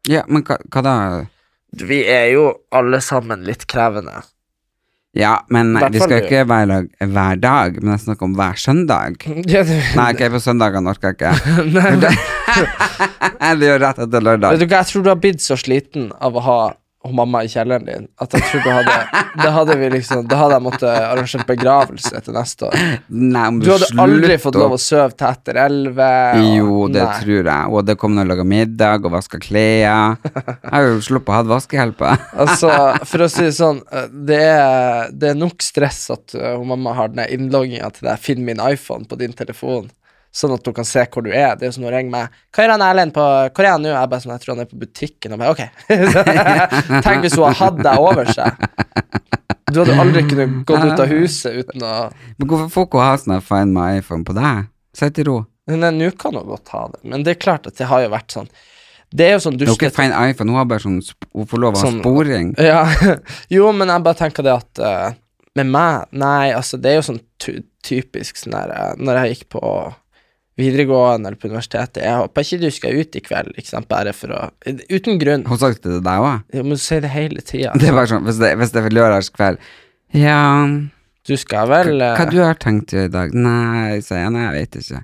S1: Ja, men hva, hva da?
S2: Vi er jo alle sammen litt krevende.
S1: Ja, men
S2: Hvert
S1: vi
S2: fall
S1: skal jo
S2: det.
S1: ikke være i lag hver dag, men jeg snakker om hver søndag.
S2: [laughs] Ja, du,
S1: Nei, ok, på søndagene orker jeg
S2: [laughs]
S1: ikke.
S2: nei, men-
S1: det gjør rett etter
S2: vet
S1: lørdag.
S2: du hva, jeg tror du har blitt så sliten av å ha hun mamma i kjelleren din at jeg tror du hadde Da hadde vi liksom Da hadde jeg måttet arrangere begravelse til neste år.
S1: Nei, om
S2: Du hadde aldri fått lov å
S1: å
S2: sove til etter elleve. og-
S1: Jo, det
S2: Nei.
S1: tror jeg. Og det kom noen og laga middag og vaska klær. Jeg har jo sluppet å ha vaskehjelp.
S2: [laughs] Altså, for å si det sånn, eh, det er, det er nok stress at eh, hun mamma har den innlogginga til deg 'Finn min iPhone' på din telefon, sånn at hun kan se hvor du er. Det er jo sånn hun ringer meg 'Hva gjør han Erlend på Hvor er han nå?' Jeg bare sånn, jeg tror han er på butikken. Og bare, ok [laughs] Tenk hvis hun har hatt deg over seg. Du hadde jo aldri kunnet gått ut av huset uten å
S1: Men hvorfor får ikke hun ha sånn her Find my iPhone på deg? Sett i ro.
S2: Nei, nå kan hun godt ha det, men det er klart at det har jo vært sånn. Det er jo sånn
S1: Det er jo ikke
S2: dustete
S1: Find iPhone, hun har bare sånn sp- Hun får lov å ha
S2: Sånn-
S1: sporing.
S2: Ja, [laughs] jo, men jeg bare tenker det at eh, Med meg, nei, altså det er jo sånn ty- typisk sånn der eh, Når jeg gikk på videregående eller på universitetet Jeg håper ikke du skal ut i kveld, ikke sant, bare for å Uten grunn.
S1: Hun sa ikke det til deg òg?
S2: Jeg må si det hele altså. tida.
S1: [laughs] Det var sånn, hvis det, hvis det er lørdagskveld Ja,
S2: Du skal vel eh,
S1: hva du har tenkt å gjøre i dag? Nei, sier jeg, nei, jeg vet ikke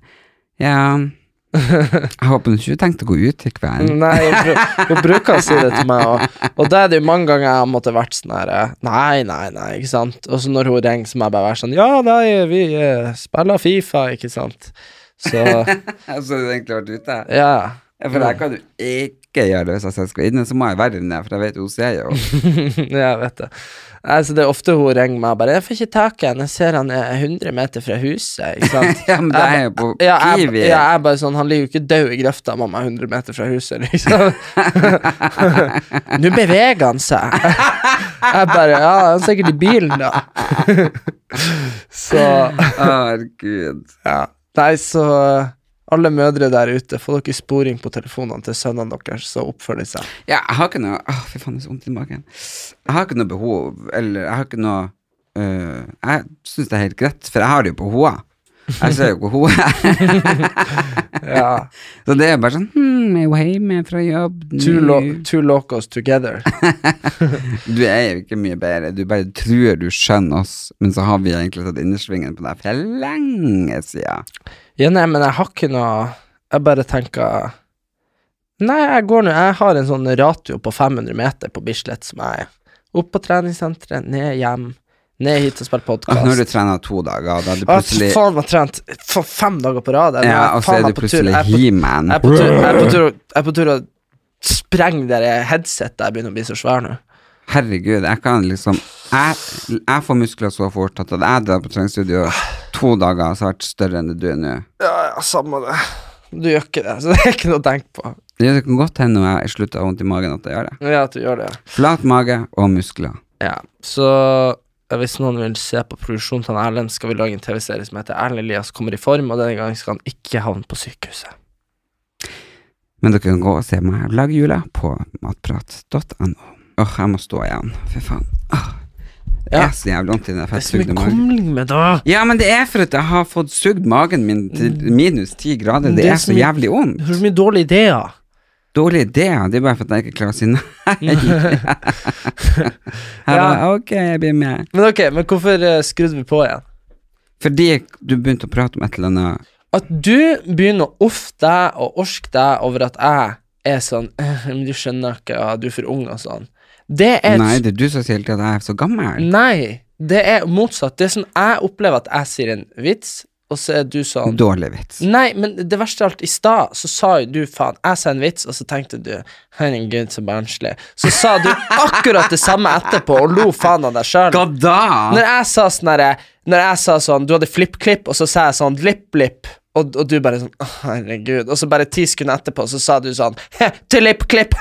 S1: Ja, jeg håper du ikke tenkte å gå ut i kveld
S2: eh, [laughs] Nei, hun, bru- hun bruker å si det til meg, og, og da er det jo mange ganger jeg har måttet vært sånn her eh, Nei, nei, nei, ikke sant. Og så når hun ringer, så må jeg bare være sånn Ja, nei, vi eh, spiller Fifa, ikke sant. Så
S1: [laughs] Så du egentlig vært ute?
S2: ja.
S1: Ja, for jeg kan jo ikke gjøre det hvis jeg skal inne Så må jeg være inne, for jeg vet hun ser jo
S2: [laughs] Ja, jeg vet det. Altså, det er ofte hun ringer meg og bare 'Jeg får ikke tak i han, jeg ser han er 100 meter fra huset', ikke sant?
S1: [laughs] Ja, men det er jo på
S2: Ja, jeg,
S1: Kiwi
S2: ja, jeg er bare sånn Han ligger jo ikke død i grøfta, mamma, 100 meter fra huset,
S1: [laughs]
S2: liksom. Nå beveger han seg. Jeg bare Ja, han er sikkert i bilen, da. [laughs] Så
S1: Herregud
S2: ja. Nei, så alle mødre der ute, få dere sporing på telefonene til sønnene deres, så oppfører de seg.
S1: Ja, jeg har ikke noe Åh, fy faen, det er så vondt i magen Jeg har ikke noe behov Eller, jeg har ikke noe øh, Jeg synes det er helt greit For jeg har det jo på hoa Jeg ser jo på hoa
S2: [laughs] Ja.
S1: [laughs] Så det er bare sånn hmm, Er hun hjemme fra jobb nå?»
S2: Two, lo two locos together.
S1: Du er jo ikke mye bedre Du bare tror du skjønner oss Men så har vi egentlig tatt innersvingen på deg For lenge siden
S2: Ja, nei, men jeg har ikke noe Jeg bare tenker Nei, jeg går nå Jeg har en sånn ratio på 500 meter på Bislett som jeg er. Opp på treningssenteret, ned hjem, ned hit og spille
S1: Åh, Ah, Nå har du
S2: podkast.
S1: trenet to dager Da er du plutselig
S2: Faen, jeg har trent for fem dager på rad. Jeg, nå
S1: Ja,
S2: jeg
S1: og så
S2: faen
S1: er
S2: meg
S1: du
S2: på tur.
S1: plutselig
S2: Jeg er på-
S1: he-man
S2: Jeg er på tur- jeg er på tur å- jeg er på tur å sprenge det headsetet jeg begynner å bli så svær nå.
S1: Herregud, jeg kan liksom Jeg, jeg får muskler så fort at hadde jeg dratt på treningsstudio to dager, så hadde jeg vært større enn det du er nå.
S2: Ja, ja, samme det. Du gjør ikke det, så det er ikke noe å tenke på.
S1: Det kan godt hende når jeg slutter å ha vondt i magen at jeg gjør det.
S2: Ja, at du gjør det.
S1: Flat mage og muskler.
S2: Ja. Så eh, hvis noen vil se på produksjonen til han Erlend, skal vi lage en TV-serie som heter Erlend Elias kommer i form, og denne gangen skal han ikke havne på sykehuset.
S1: Men dere kan gå og se meg lage jula på matprat.no. Åh, jeg må stå igjen. Fy faen. Åh, det
S2: Ja.
S1: er så jævlig vondt i den
S2: Det er så
S1: fettsugde
S2: mye
S1: magen.
S2: kumling med det.
S1: Ja, men det er for at jeg har fått sugd magen min til minus ti grader. Det,
S2: Mm. Det er
S1: er
S2: så
S1: så
S2: mye-
S1: jævlig vondt.
S2: Du har så mye dårlige [laughs] ideer.
S1: Dårlig idé, ja. det er bare for at jeg ikke klarer å si nei. jeg bare, ok, jeg blir med.
S2: Men ok, men hvorfor eh, skrudde vi på igjen?
S1: Fordi du begynte å prate om et eller annet.
S2: At du begynner å offe deg og orske deg over at jeg er sånn [laughs] «Eh, Men du skjønner ikke, ja, du er for ung og sånn. Det er
S1: Nei, det er du som sier hele tiden at jeg er så gammel.
S2: Nei, det er motsatt. Det er sånn jeg opplever at jeg sier en vits, og så er du sånn
S1: Dårlig vits.
S2: Nei, men det verste av alt, i stad så sa jo du faen Jeg sa en vits, og så tenkte du herregud, så barnslig. Så sa du akkurat det samme etterpå og lo faen av deg sjøl.
S1: Hva da?
S2: Når jeg sa sånn herre Når jeg sa sånn Du hadde flipp-klipp, og så sa jeg sånn lipp-lipp. Og, og du bare sånn Å, herregud. Og så bare ti sekunder etterpå så sa du sånn «He, Til lipp-klipp!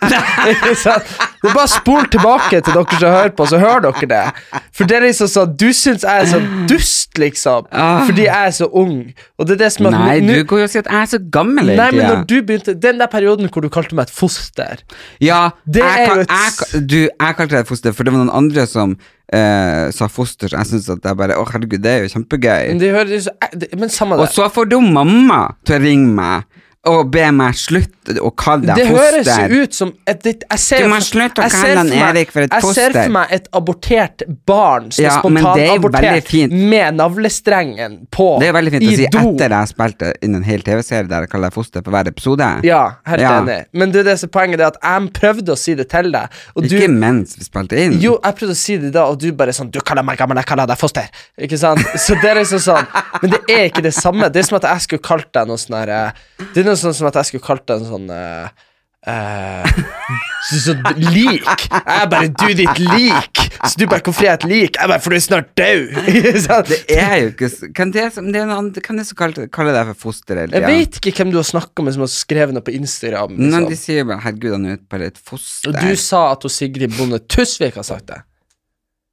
S2: [laughs] Ikke sant? Du bare spol tilbake til dere som hører på, så hører dere det. For det er liksom sånn Du syns jeg er sånn dust, liksom. Fordi jeg er så ung. Og det er det som er at
S1: Nei,
S2: nå-
S1: du går jo og sier at jeg er så gammel hele
S2: Nei, men når
S1: tiden.
S2: du begynte Den der perioden hvor du kalte meg et foster
S1: Ja,
S2: Det er
S1: jeg,
S2: jo
S1: kan,
S2: et-
S1: jeg, kan- du, jeg kalte deg et foster, for det var noen andre som eh, sa foster, så jeg syntes at jeg bare, å herregud, det er jo kjempegøy.
S2: Men det høres ut som- eh, det- Men samme
S1: Og
S2: det.
S1: så får du mamma til å ringe meg og be meg slutte å kalle
S2: Det
S1: deg
S2: høres
S1: foster.
S2: ut som et, det, jeg ser,
S1: Du må
S2: for-
S1: slutte å
S2: jeg ser
S1: kalle han
S2: for meg-
S1: Erik for et
S2: Jeg ser
S1: foster.
S2: for meg et abortert barn som
S1: Ja, men det er jo veldig
S2: spontanabortert
S1: fint.
S2: med navlestrengen på
S1: Det er jo veldig fint
S2: i
S1: å si
S2: do.
S1: etter jeg spilte inn en hel TV-serie der jeg kaller deg foster på hver episode.
S2: Ja, helt
S1: Ja.
S2: enig. Men det er det som er poenget det er at jeg prøvde å si det til deg, og
S1: Ikke
S2: du
S1: mens vi spilte inn.
S2: jo, jeg prøvde å si det da, og du bare sånn Du kaller meg gammel, jeg kaller deg foster. Ikke sant? Så det er liksom sånn Men det er ikke det samme. Det er som at jeg skulle kalt deg noe sånn her eh, Det er noe sånn som at jeg skulle kalt deg en sånn eh, eh, så, så, lik. Jeg bare Du, ditt lik. Så du bare Hvorfor er jeg et lik? Jeg bare For du er snart død. [laughs] Ikke sant?
S1: Jeg er jo ikke s- Kan det som det er noen andre- Kan jeg så kalle, kalle deg for foster hele
S2: Jeg
S1: tiden?
S2: vet ikke hvem du har snakka med som har skrevet noe på Instagram.
S1: Men de
S2: Liksom.
S1: sier jo bare 'herregud, han er jo bare et foster'.
S2: Og du sa at hun Sigrid Bonde Tusvik har sagt det.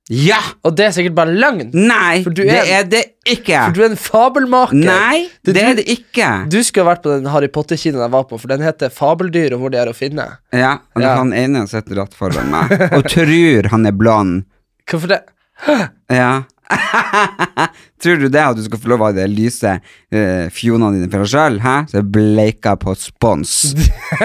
S1: Ja!
S2: Og det er sikkert bare løgn.
S1: Nei!
S2: For du
S1: Det
S2: er-
S1: er det ikke!
S2: For du er en fabelmaker.
S1: Nei, det,
S2: Det du-
S1: er det ikke!
S2: Du skulle ha vært på den Harry Potter-kinoen jeg var på, for den heter Fabeldyr og hvor de er å finne.
S1: Ja, og
S2: Ja.
S1: Han ene sitter rett foran meg og tror han er blond.
S2: Hvorfor det?
S1: Ja. [laughs] Tror du det at du skal få lov av det lyse eh, fjonene dine for deg sjøl? Hæ? Så jeg bleika på spons.
S2: [laughs]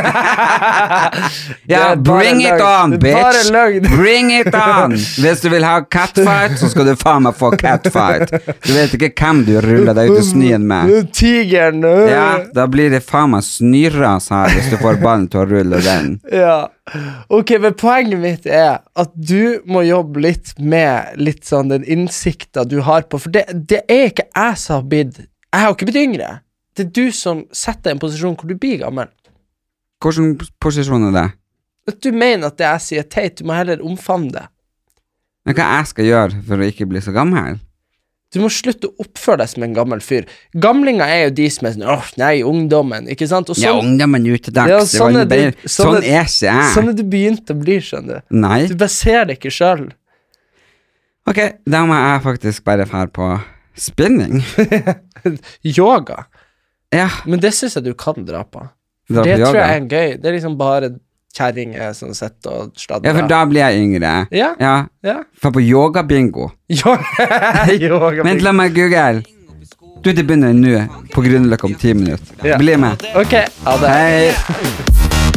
S1: ja,
S2: Det er bare
S1: bring it
S2: løgn.
S1: on,
S2: Det er bare
S1: bitch!
S2: løgn. [laughs]
S1: Bring it on! Hvis du vil ha catfight, så skal du faen meg få catfight. Du vet ikke hvem du ruller deg ut i snøen med.
S2: Tigeren.
S1: Ja, da blir det faen meg snørras her hvis du får ballen til å rulle den.
S2: Ja. Ok, men poenget mitt er at du må jobbe litt med litt sånn den innsikta du har på For det, det er ikke jeg som har blitt Jeg har ikke blitt yngre. Det er du som setter deg i en posisjon hvor du blir gammel.
S1: Hvilken posisjon er det?
S2: At du mener at det jeg sier er teit, du må heller omfavne det.
S1: Men Hva jeg skal gjøre for å ikke bli så gammel?
S2: Du må slutte å oppføre deg som en gammel fyr. Gamlinger er jo de som er sånn åh, nei, ungdommen, ikke sant? Og
S1: Ja,
S2: sånn,
S1: ungdommen er ute
S2: Ja,
S1: dags.
S2: sånn
S1: Sånn,
S2: er det- sånn
S1: sånn
S2: er-
S1: er ikke jeg.
S2: sånn er du begynt å bli, skjønner du.
S1: Nei.
S2: Du bare ser det ikke sjøl.
S1: Ok, da må jeg faktisk bare dra på spinning. [laughs]
S2: Yoga.
S1: Ja,
S2: Men det syns jeg du kan dra på.
S1: dra
S2: det
S1: på
S2: tror
S1: yoga.
S2: jeg er gøy. Det er liksom bare kjerringer som sitter og
S1: Ja, for
S2: sladrer.
S1: da blir jeg yngre.
S2: Ja.
S1: Ja,
S2: Ja. [laughs]
S1: for på yogabingo.
S2: Yoga- Yoga.
S1: Vent, la meg google. Du, det begynner nå, på Grünerløkka om ti minutter.
S2: Ja.
S1: Bli med.
S2: Ok, ha det.
S1: Hei.